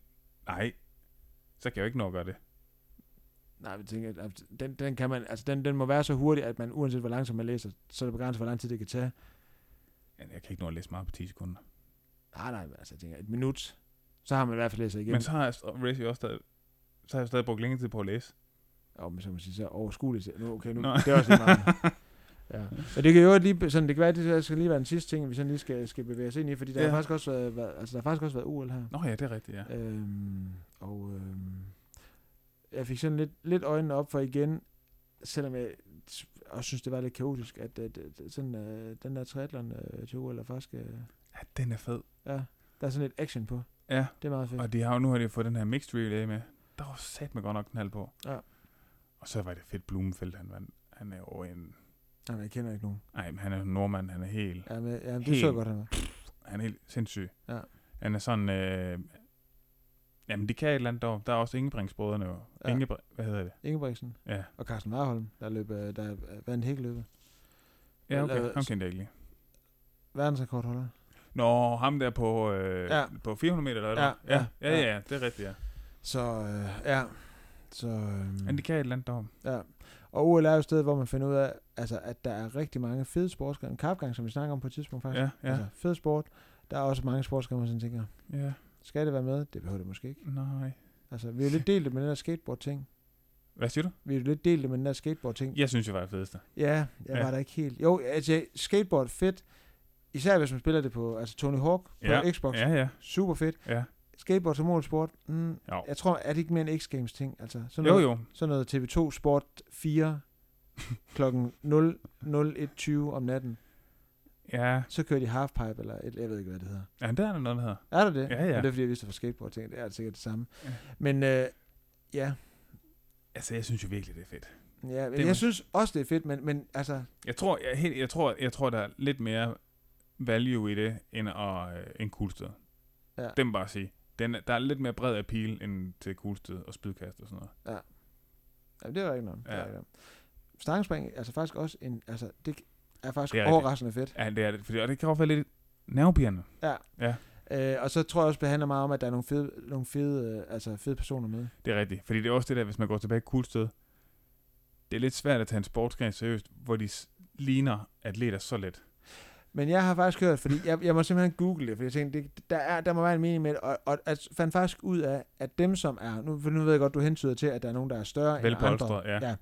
Speaker 1: nej, så kan jeg jo ikke nå at gøre det.
Speaker 2: nej, jeg tænker, at den, den, kan man, altså, den, den må være så hurtig, at man uanset hvor langsomt man læser, så er det begrænset, hvor lang tid det kan tage.
Speaker 1: Ja, Jeg kan ikke nå at læse meget på 10 sekunder.
Speaker 2: Nej, nej, men altså, jeg tænker, et minut, så har man i hvert fald læst sig igennem.
Speaker 1: Men så har jeg, race jo også stadig, så har jeg stadig brugt længere tid på at læse.
Speaker 2: Jo, men så kan man sige, så overskueligt. Nu, okay, nu,
Speaker 1: Nå.
Speaker 2: det er også lige meget.
Speaker 1: (laughs)
Speaker 2: Ja. Og det kan jo lige, sådan, det kan være, det der skal lige være den sidste ting, vi sådan lige skal, skal bevæge os ind i, fordi der,
Speaker 1: Ja.
Speaker 2: ja. har faktisk også været, været, altså, der har faktisk også været OL her.
Speaker 1: Nå ja, det er rigtigt, ja.
Speaker 2: Ja. Øhm, og øhm, jeg fik sådan lidt, lidt øjnene op for igen, selvom jeg s- også synes, det var lidt kaotisk, at, at, at sådan, øh, den der triathlon øh, til OL er faktisk, øh,
Speaker 1: Ja, den er fed.
Speaker 2: ja, der er sådan lidt action på.
Speaker 1: Ja.
Speaker 2: Det er meget fedt.
Speaker 1: Og de har jo, nu har de jo fået den her mixed relay med. Der var sat med godt nok knald på.
Speaker 2: Ja.
Speaker 1: Og så var det fedt Blumenfeldt, han, vandt. han er jo en...
Speaker 2: Nej, men jeg kender ikke nogen.
Speaker 1: Nej, men han er jo nordmand, han er helt,
Speaker 2: Ja, men, ja, men det
Speaker 1: Helt.
Speaker 2: så jeg godt, han var.
Speaker 1: han er helt sindssyg.
Speaker 2: Ja.
Speaker 1: Han er sådan... Øh, jamen, de kan et eller andet dog. Der er også Ingebrigtsbrødrene jo. Ja.
Speaker 2: Ja.
Speaker 1: Ingebrigt, hvad hedder det?
Speaker 2: Ingebrigtsen
Speaker 1: Ja.
Speaker 2: og Carsten Warholm, der, løb, øh, der vandt hækkeløbet.
Speaker 1: Ja,
Speaker 2: Eller-
Speaker 1: okay. Ham kendte jeg ikke lige.
Speaker 2: Verdensrekordholder.
Speaker 1: Nå, ham der på, øh, ja.
Speaker 2: Ja.
Speaker 1: på 400 meter, eller hvad
Speaker 2: Ja,
Speaker 1: det var?
Speaker 2: ja,
Speaker 1: ja, ja,
Speaker 2: ja.
Speaker 1: ja, det er rigtigt, ja.
Speaker 2: Så øh, ja, så... Øh,
Speaker 1: Men de kan et eller andet dog.
Speaker 2: ja. Og OL er jo et sted, hvor man finder ud af, altså, at der er rigtig mange fede sportsgrene. En Kapgang, som vi snakker om på et tidspunkt faktisk.
Speaker 1: Ja, ja,
Speaker 2: Altså, fed sport. Der er også mange sportsgrene, hvor man sådan tænker,
Speaker 1: ja.
Speaker 2: skal det være med? Det behøver det måske ikke.
Speaker 1: Nej.
Speaker 2: Altså, vi er jo lidt delt det med den der skateboard-ting.
Speaker 1: Hvad siger du?
Speaker 2: Vi er jo lidt delt det med den der skateboard-ting.
Speaker 1: Jeg synes, jeg var det fedeste.
Speaker 2: Ja, jeg
Speaker 1: Ja.
Speaker 2: ja. var der ikke helt. Jo, altså, skateboard fedt. Især hvis man spiller det på altså Tony Hawk på
Speaker 1: Ja,
Speaker 2: Xbox.
Speaker 1: Ja, ja,
Speaker 2: Super fedt.
Speaker 1: ja.
Speaker 2: Skateboard som målsport. Mm,
Speaker 1: Jo,
Speaker 2: jeg tror, er det ikke mere en X-Games ting? Altså, sådan
Speaker 1: jo.
Speaker 2: noget,
Speaker 1: jo.
Speaker 2: Sådan noget TV2 Sport 4 klokken 00.20 om natten.
Speaker 1: Ja,
Speaker 2: Så kører de halfpipe, eller et, jeg ved ikke, hvad det hedder.
Speaker 1: ja der er der noget, der hedder.
Speaker 2: Er der det?
Speaker 1: Ja, ja.
Speaker 2: Og det er, fordi jeg vidste det fra skateboard, tænkte, det er sikkert det samme.
Speaker 1: Ja.
Speaker 2: Ja. Men øh, ja,
Speaker 1: Altså, jeg synes jo virkelig, det er fedt.
Speaker 2: ja men
Speaker 1: er-
Speaker 2: jeg synes også, det er fedt, men, men altså,
Speaker 1: Jeg tror, jeg, helt, jeg, tror, jeg tror, der er lidt mere value i det, end, at, øh, end Kulsted.
Speaker 2: Ja.
Speaker 1: Det må jeg bare sige. Den, er- der er lidt mere bred appeal, end til Kulsted og spydkast og sådan noget.
Speaker 2: jamen, det er ikke noget.
Speaker 1: Ja.
Speaker 2: Ja. Stangspring, altså faktisk også en, altså det er faktisk
Speaker 1: Det er
Speaker 2: det er
Speaker 1: rigtigt.
Speaker 2: overraskende fedt.
Speaker 1: Ja, det er det. Fordi, og det kan også være lidt nervepirrende.
Speaker 2: Øh, og så tror jeg også, det handler meget om, at der er nogle fede, nogle fede, øh, altså fede personer med.
Speaker 1: Det er rigtigt. Fordi det er også det der, hvis man går tilbage til Kulsted, det er lidt svært at tage en sportsgren seriøst, hvor de s- ligner atleter så lidt.
Speaker 2: Men jeg har faktisk hørt, fordi jeg, jeg må simpelthen google det, for jeg tænkte, det, der, er, der må være en mening med det, og, og at fandt faktisk ud af, at dem som er, nu, for nu ved jeg godt, du hentyder til, at der er nogen, der er større end andre,
Speaker 1: Velpolstret, ja.
Speaker 2: Ja.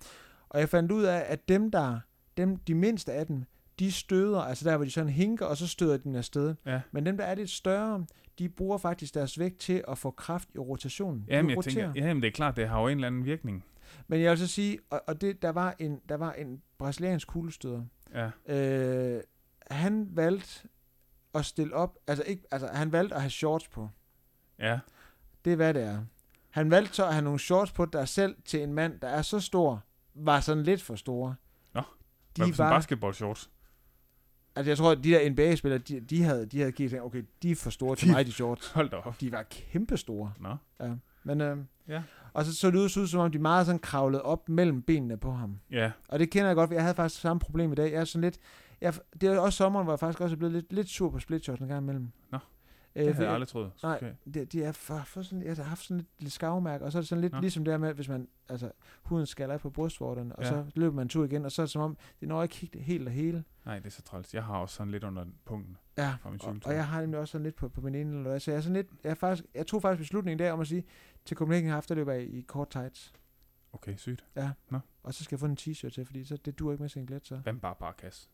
Speaker 2: og jeg fandt ud af, at dem der, dem, de mindste af dem, de støder, altså der hvor de sådan hinker, og så støder de den afsted.
Speaker 1: Ja.
Speaker 2: Men dem, der er lidt større, de bruger faktisk deres vægt til at få kraft i rotationen.
Speaker 1: Jamen,
Speaker 2: de
Speaker 1: jeg tænker, jamen, det er klart, det har jo en eller anden virkning.
Speaker 2: Men jeg vil så sige, og, og det, der, var en, der var en brasiliansk kuglestøder,
Speaker 1: Ja,
Speaker 2: Øh, han valgte at stille op, altså, ikke, altså han valgte at have shorts på.
Speaker 1: ja.
Speaker 2: Det er hvad det er. Han valgte så at have nogle shorts på, der selv til en mand, der er så stor, var sådan lidt for store.
Speaker 1: Nå,
Speaker 2: de
Speaker 1: Hvad for sådan
Speaker 2: var,
Speaker 1: basketball shorts? (laughs)
Speaker 2: altså jeg tror, at de der NBA-spillere, de, de, havde, de havde givet tænkt, okay, de er for store til
Speaker 1: De-
Speaker 2: mig, de shorts.
Speaker 1: Hold da op.
Speaker 2: De var kæmpestore.
Speaker 1: Nå.
Speaker 2: Men, øh,
Speaker 1: Ja.
Speaker 2: Og så så det ud, så ud, som om de meget sådan kravlede op mellem benene på ham.
Speaker 1: Ja,
Speaker 2: Og det kender jeg godt, for jeg havde faktisk samme problem i dag. Jeg er sådan lidt... Jeg, det er også sommeren, hvor jeg faktisk også er blevet lidt, lidt sur på splitshot en gang imellem.
Speaker 1: Nå. Det havde
Speaker 2: for-
Speaker 1: jeg aldrig troet.
Speaker 2: Øh, Nej,
Speaker 1: Okay.
Speaker 2: det, de er for, for sådan, jeg har haft sådan lidt, lidt skavmærke, og så er det sådan lidt
Speaker 1: Nå.
Speaker 2: ja. ligesom det her med, hvis man, altså, huden skaller af på brystvorterne, og
Speaker 1: Ja.
Speaker 2: ja. så løber man en tur igen, og så er det som om, det når ikke helt, helt og hele.
Speaker 1: Nej, det er så træls. Jeg har også sådan lidt under punkten.
Speaker 2: Ja,
Speaker 1: Fra min
Speaker 2: og,
Speaker 1: cykeltur.
Speaker 2: og, jeg har nemlig også sådan lidt på, på min ene eller så jeg er sådan lidt, jeg, er faktisk, jeg tog faktisk beslutningen der om at sige, til Copenhagen har haft, der løber jeg i kort tights,
Speaker 1: Okay, sygt.
Speaker 2: og så skal jeg få en t-shirt til, fordi så, det dur ikke med singlet, så
Speaker 1: Hvad med bare barkas?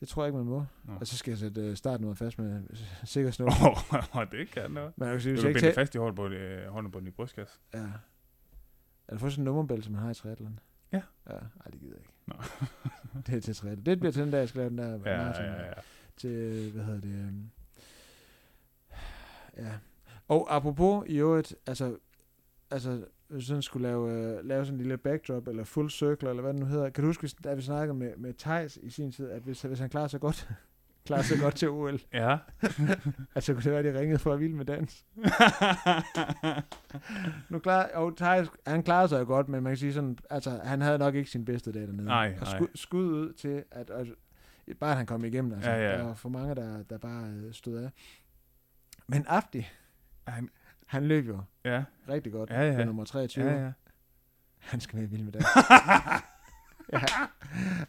Speaker 2: det tror jeg ikke, man må.
Speaker 1: Nå.
Speaker 2: Og så skal jeg sætte øh, starten ud fast med øh, sikker snor.
Speaker 1: (laughs) Åh, det kan noget.
Speaker 2: Man kan sige,
Speaker 1: Du
Speaker 2: hvis
Speaker 1: kan
Speaker 2: jeg
Speaker 1: binde
Speaker 2: ikke
Speaker 1: det
Speaker 2: tager...
Speaker 1: fast i hånden på, øh, hånden på din brystkasse.
Speaker 2: Ja. Er det for sådan en nummerbælte, som man har i triathlon?
Speaker 1: Ja.
Speaker 2: Ja, ej, det gider jeg ikke.
Speaker 1: Nå.
Speaker 2: (laughs) det er til triathlon. Det bliver til den dag, jeg skal lave den der
Speaker 1: Ja,
Speaker 2: maraton
Speaker 1: ja,
Speaker 2: der.
Speaker 1: ja.
Speaker 2: Til, øh, hvad hedder det? øhm, Ja. Og apropos i øvrigt, altså, altså hvis sådan skulle lave, øh, lave sådan en lille backdrop, eller full circle, eller hvad det nu hedder. Kan du huske, hvis- da vi snakkede med, med Thijs i sin tid, at hvis, hvis han klarer sig godt, (laughs) klarer sig godt til OL,
Speaker 1: Ja.
Speaker 2: Altså, kunne det være, de ringede for at vilde med dans? Nu klar, og Thijs, han klarede sig jo godt, men man kan sige sådan, altså, han havde nok ikke sin bedste dag dernede.
Speaker 1: Nej,
Speaker 2: og
Speaker 1: nej.
Speaker 2: skud, skud ud til, at, at, bare at han kom igennem, altså.
Speaker 1: Ja, ja.
Speaker 2: Der var for mange, der, der bare øh, stod af. Men Afti,
Speaker 1: Han-
Speaker 2: han løb jo (laughs)
Speaker 1: ja,
Speaker 2: rigtig godt.
Speaker 1: Ja, ja.
Speaker 2: Blev nummer 23.
Speaker 1: ja, ja.
Speaker 2: Han skal med i
Speaker 1: (laughs)
Speaker 2: vild med dans. ja,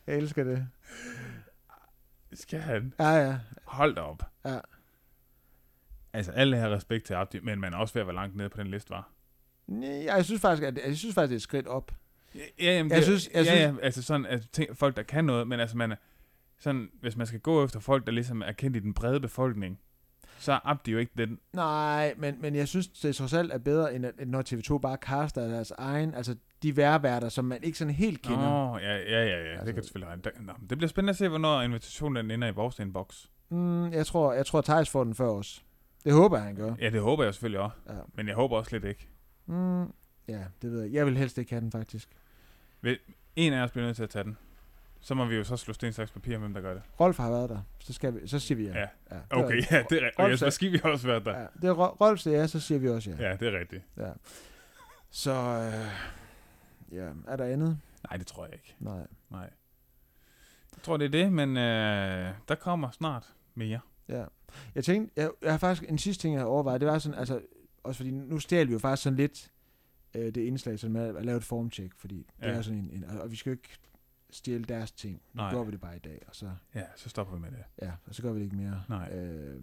Speaker 2: jeg elsker det.
Speaker 1: Skal han?
Speaker 2: Ja, ja.
Speaker 1: Hold da op.
Speaker 2: Ja.
Speaker 1: Altså, alle har respekt til Abdi, men man er også ved at være langt nede på den liste, var.
Speaker 2: Nej, Jeg synes faktisk, at, jeg synes faktisk, det er et skridt op.
Speaker 1: Ja, jamen,
Speaker 2: Jeg synes- jeg
Speaker 1: ja,
Speaker 2: synes-
Speaker 1: ja, altså sådan, altså, tænk, folk, der kan noget, men altså, man er, sådan, hvis man skal gå efter folk, der ligesom er kendt i den brede befolkning, så er Abdi jo ikke den.
Speaker 2: Nej, men, men jeg synes, det trods alt er bedre, end at, at når TV2 bare caster deres egen, altså de værværter, som man ikke sådan helt kender. Nå.
Speaker 1: Nå, ja, ja, ja, ja, altså, det kan du
Speaker 2: Altså-
Speaker 1: selvfølgelig regne. Der- Nå, men det bliver spændende at se, hvornår invitationen den ender i vores inbox.
Speaker 2: Mm, jeg tror, jeg tror Thijs får den før os. Det håber jeg, han gør.
Speaker 1: Ja, det håber jeg selvfølgelig også,
Speaker 2: Ja.
Speaker 1: men jeg håber også lidt ikke.
Speaker 2: Mm, ja, det ved jeg. Jeg vil helst ikke have den, faktisk.
Speaker 1: En af os bliver nødt til at tage den. Så må vi jo så slå sten, saks, papir, hvem der gør det.
Speaker 2: Rolf har været der, så, skal vi, så siger vi ja.
Speaker 1: Ja.
Speaker 2: ja det
Speaker 1: Okay, ja,
Speaker 2: er,
Speaker 1: det er rigtigt. Og
Speaker 2: Rolf
Speaker 1: Jesper
Speaker 2: sagde-
Speaker 1: Skib har også været der.
Speaker 2: Ja, det er Ro- Rolf siger ja, så siger vi også ja.
Speaker 1: Ja, det er rigtigt.
Speaker 2: ja. Så, øh, ja, er der andet?
Speaker 1: Nej, det tror jeg ikke.
Speaker 2: Nej.
Speaker 1: Nej. Jeg tror, det er det, men øh, der kommer snart mere.
Speaker 2: Ja. Jeg tænkte, jeg, jeg har faktisk en sidste ting, jeg overvejede, det var sådan, altså, også fordi nu stjal vi jo faktisk sådan lidt øh, det indslag, som med at lave et formcheck, fordi ja.
Speaker 1: Ja.
Speaker 2: det er sådan en, en, og og vi skal jo ikke stjæle deres ting. Nu
Speaker 1: Nej.
Speaker 2: gør vi det bare i dag, og så,
Speaker 1: Ja, så stopper vi med det.
Speaker 2: ja, og så gør vi det ikke mere.
Speaker 1: Nej.
Speaker 2: Øh,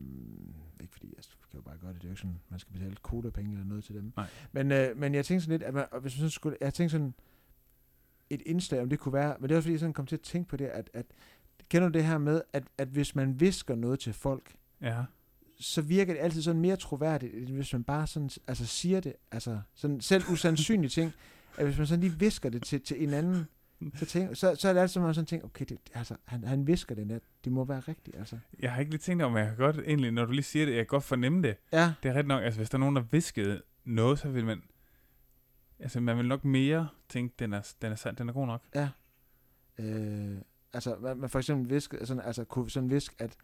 Speaker 2: ikke fordi, altså, vi kan jo bare gøre det, det er jo ikke sådan, man skal betale kodapenge eller noget til dem.
Speaker 1: Nej.
Speaker 2: Men, øh, men jeg tænkte sådan lidt, at man, og hvis man sådan skulle, jeg tænkte sådan, et indslag, om det kunne være, men det var fordi, jeg sådan kom til at tænke på det, at, at kender du det her med, at, at hvis man visker noget til folk,
Speaker 1: Ja.
Speaker 2: så virker det altid sådan mere troværdigt, end hvis man bare sådan, altså siger det, altså sådan selv usandsynlige ting, at hvis man sådan lige visker det til, til en anden, så, tænker, så, så er det altid, som om man sådan tænker, okay, det, altså, han, han visker det net, det må være rigtigt, altså.
Speaker 1: Jeg har ikke lige tænkt om, at jeg kan godt, egentlig, når du lige siger det, jeg kan godt fornemme det.
Speaker 2: Ja,
Speaker 1: Det er ret nok, altså hvis der er nogen, der viskede noget, så vil man, altså man vil nok mere tænke, den er, den er, sand, den er god nok.
Speaker 2: øh, altså, man, man for eksempel visker, sådan, altså, kunne sådan viske, at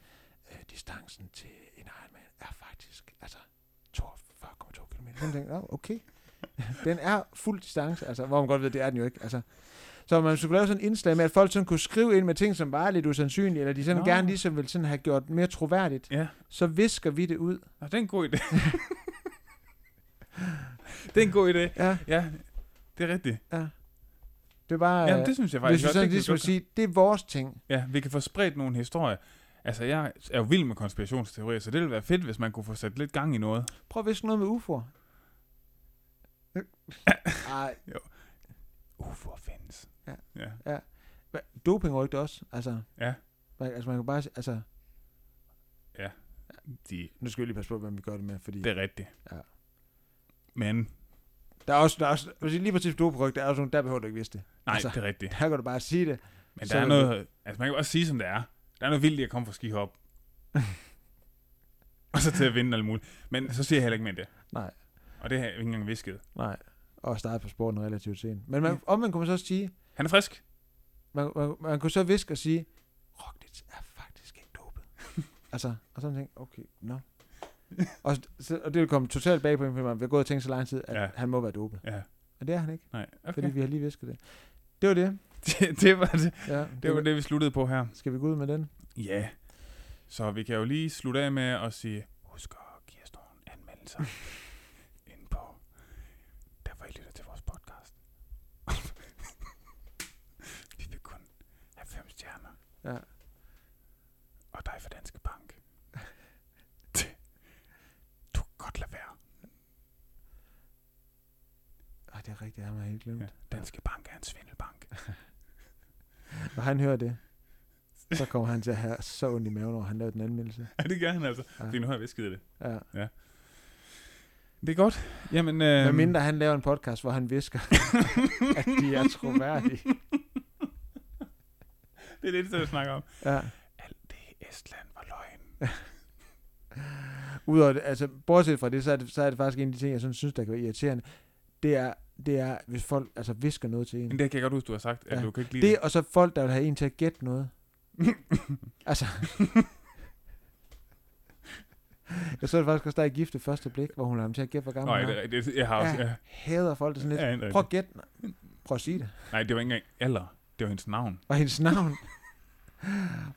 Speaker 2: øh, distancen til en Ironman er faktisk, altså, 42,2 km. Sådan tænker, jeg, "Nå, okay. (laughs) Den er fuld distance, altså, hvor man godt ved, det er den jo ikke. Altså, så man skulle lave sådan en indslag med, at folk sådan kunne skrive ind med ting, som var lidt usandsynlige, eller de sådan
Speaker 1: Nå.
Speaker 2: Nå. gerne ligesom ville sådan have gjort mere troværdigt,
Speaker 1: Ja,
Speaker 2: så visker vi det ud.
Speaker 1: og det er en god (laughs) idé. det er en god idé.
Speaker 2: Ja,
Speaker 1: Ja, det er rigtigt.
Speaker 2: det var...
Speaker 1: Ja,
Speaker 2: Ja,
Speaker 1: det synes jeg
Speaker 2: hvis
Speaker 1: faktisk
Speaker 2: vi
Speaker 1: godt.
Speaker 2: sådan
Speaker 1: Det kan vi
Speaker 2: ligesom
Speaker 1: godt-
Speaker 2: sige, det er vores ting.
Speaker 1: Ja, vi kan få spredt nogle historier. Altså, jeg er jo vild med konspirationsteorier, så det ville være fedt, hvis man kunne få sat lidt gang i noget.
Speaker 2: Prøv at viske noget med UFO'er. (coughs) Ej,
Speaker 1: UFO'er findes.
Speaker 2: Ja.
Speaker 1: ja.
Speaker 2: Hva- Dopingrygte også, altså.
Speaker 1: Ja.
Speaker 2: Man, altså, man kan bare... s- Altså,
Speaker 1: De,
Speaker 2: nu skal vi lige passe på, hvem vi gør det med, fordi...
Speaker 1: det er rigtigt.
Speaker 2: Ja.
Speaker 1: Men,
Speaker 2: Der er også... Der er også hvis I lige præcis dopingryg, der er også nogle, der behøver du ikke vidste det.
Speaker 1: nej, altså,
Speaker 2: Altså.
Speaker 1: det er rigtigt.
Speaker 2: Der kan du bare sige det.
Speaker 1: Men
Speaker 2: Så
Speaker 1: der er
Speaker 2: vil
Speaker 1: noget, altså man kan også sige, som det er. Der er noget vildt i at komme fra
Speaker 2: (laughs)
Speaker 1: skihop. og så til at vinde alt muligt. Men så siger jeg heller ikke mere end det.
Speaker 2: Nej.
Speaker 1: Og det har jeg ikke engang visket.
Speaker 2: Nej. Og starte på sporten relativt sent. Men man, om man kunne man så også sige...
Speaker 1: Han er frisk.
Speaker 2: Man, man, man kunne så viske og sige... Roglic er faktisk ikke dopet.
Speaker 1: (laughs)
Speaker 2: altså, og sådan tænkte okay, no. og, så, og det vil komme totalt bag på en, fordi man vil gå og tænke så lang tid, at
Speaker 1: Ja.
Speaker 2: ja. han må være dopet.
Speaker 1: Ja,
Speaker 2: Og det er han ikke,
Speaker 1: nej. Okay.
Speaker 2: fordi vi har lige visket det. Det var det.
Speaker 1: (laughs) det, det, var det,
Speaker 2: Ja,
Speaker 1: (laughs) det var det, vi sluttede på her.
Speaker 2: Skal vi gå ud med den?
Speaker 1: Ja. Så vi kan jo lige slutte af med at sige, husk at (laughs) anmeldelser ind på, der hvor I lytter til vores podcast. (laughs) vi vil kun have fem stjerner.
Speaker 2: Ja.
Speaker 1: Og dig for Danske (laughs) Bank. Det- du kan godt lade være.
Speaker 2: Ej, det er rigtigt, jeg har mig helt glemt.
Speaker 1: Ja. Danske Bank er en svindelbank.
Speaker 2: Når han hører det, så kommer han til at have så ondt i maven, når han laver den anmeldelse.
Speaker 1: (laughs) ja, det gør han altså.
Speaker 2: Ja.
Speaker 1: Fordi nu har jeg visket det.
Speaker 2: Ja.
Speaker 1: Det er godt. Jamen, øh,
Speaker 2: Hvad mindre han laver en podcast, hvor
Speaker 1: (laughs)
Speaker 2: han visker, at de er troværdige.
Speaker 1: Det er det, eneste, jeg snakker om.
Speaker 2: Ja.
Speaker 1: Alt det i Estland var løgn.
Speaker 2: Udover det, altså, bortset fra det så, er det, så er det faktisk en af de ting, jeg sådan synes, der kan være irriterende. Det er, det er hvis folk altså, visker noget til en.
Speaker 1: Men det kan jeg godt huske, du har sagt, at
Speaker 2: Ja.
Speaker 1: du kan ikke lide
Speaker 2: Det, og så folk, der vil have en til at
Speaker 1: (laughs)
Speaker 2: gætte noget. altså. jeg så det faktisk også, der er gift det første blik, hvor hun har ham til at gætte, hvor gammel
Speaker 1: Nej,
Speaker 2: hun
Speaker 1: det,
Speaker 2: er.
Speaker 1: er rigtigt. jeg har også...
Speaker 2: Ja.
Speaker 1: Ja.
Speaker 2: Hader folk, der sådan lidt.
Speaker 1: Ja, det er
Speaker 2: Prøv
Speaker 1: rigtigt.
Speaker 2: at gætte. Prøv at sige det.
Speaker 1: Nej, det var ikke engang alder. Det var hendes navn.
Speaker 2: Og hendes navn.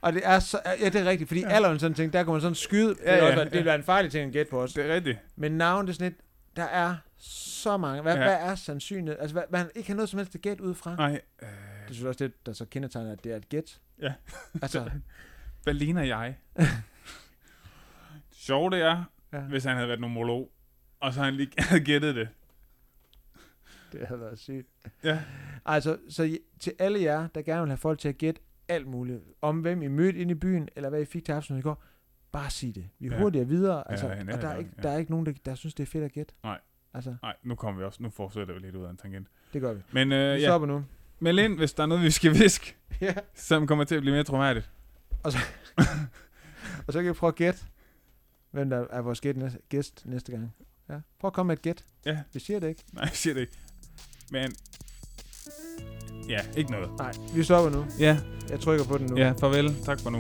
Speaker 2: og det er så, ja, det er rigtigt, fordi ja. alderen sådan ting, der kunne man sådan skyde. Ja,
Speaker 1: Ja,
Speaker 2: det,
Speaker 1: ja,
Speaker 2: ja, også, være- det
Speaker 1: ja.
Speaker 2: ville være en farlig ting at gætte på os.
Speaker 1: Det er rigtigt.
Speaker 2: Men navn, det er sådan lidt, der er så mange. Hvad,
Speaker 1: Ja.
Speaker 2: ja. hvad er sandsynligt? Altså, hvad, man ikke har noget som helst at gætte ud fra. Det
Speaker 1: Nej, øh,
Speaker 2: er selvfølgelig også det, der så kendetegner, at det er et gæt.
Speaker 1: Ja. (laughs)
Speaker 2: altså,
Speaker 1: hvad ligner jeg? Sjovt det er,
Speaker 2: ja.
Speaker 1: hvis han havde været nomolog, og så han lige (laughs) havde gættet det.
Speaker 2: (laughs) Det havde været sygt.
Speaker 1: Ja.
Speaker 2: Altså, så I- til alle jer, der gerne vil have folk til at gætte alt muligt, om hvem I mødte inde i byen, eller hvad I fik til aftenen i går, bare sig det. Vi er
Speaker 1: Ja.
Speaker 2: hurtigere videre,
Speaker 1: Ja,
Speaker 2: altså,
Speaker 1: ja, ja,
Speaker 2: og der er,
Speaker 1: ja,
Speaker 2: ikke,
Speaker 1: ja.
Speaker 2: der er ikke nogen, der, der synes, det er fedt at gætte.
Speaker 1: Nej.
Speaker 2: Altså,
Speaker 1: Nej, nu kommer vi også. Nu fortsætter vi lidt ud af en tangent.
Speaker 2: det gør vi.
Speaker 1: Men øh,
Speaker 2: Vi
Speaker 1: ja,
Speaker 2: stopper
Speaker 1: (laughs)
Speaker 2: nu.
Speaker 1: meld ind, hvis der er noget, vi skal viske,
Speaker 2: Ja.
Speaker 1: som kommer til at blive mere troværdigt.
Speaker 2: Og så kan vi prøve at gætte, hvem der er vores gæt næste, gæst næste gang. Ja. Prøv at komme med et gæt.
Speaker 1: Ja.
Speaker 2: Vi siger det ikke.
Speaker 1: Nej, jeg siger det ikke. Men ja, ikke noget.
Speaker 2: Nej, vi stopper nu.
Speaker 1: Ja,
Speaker 2: Jeg trykker på den nu.
Speaker 1: ja, farvel. Tak for nu.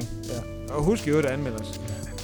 Speaker 2: Og husk i øvrigt at anmelde os.
Speaker 1: Ja.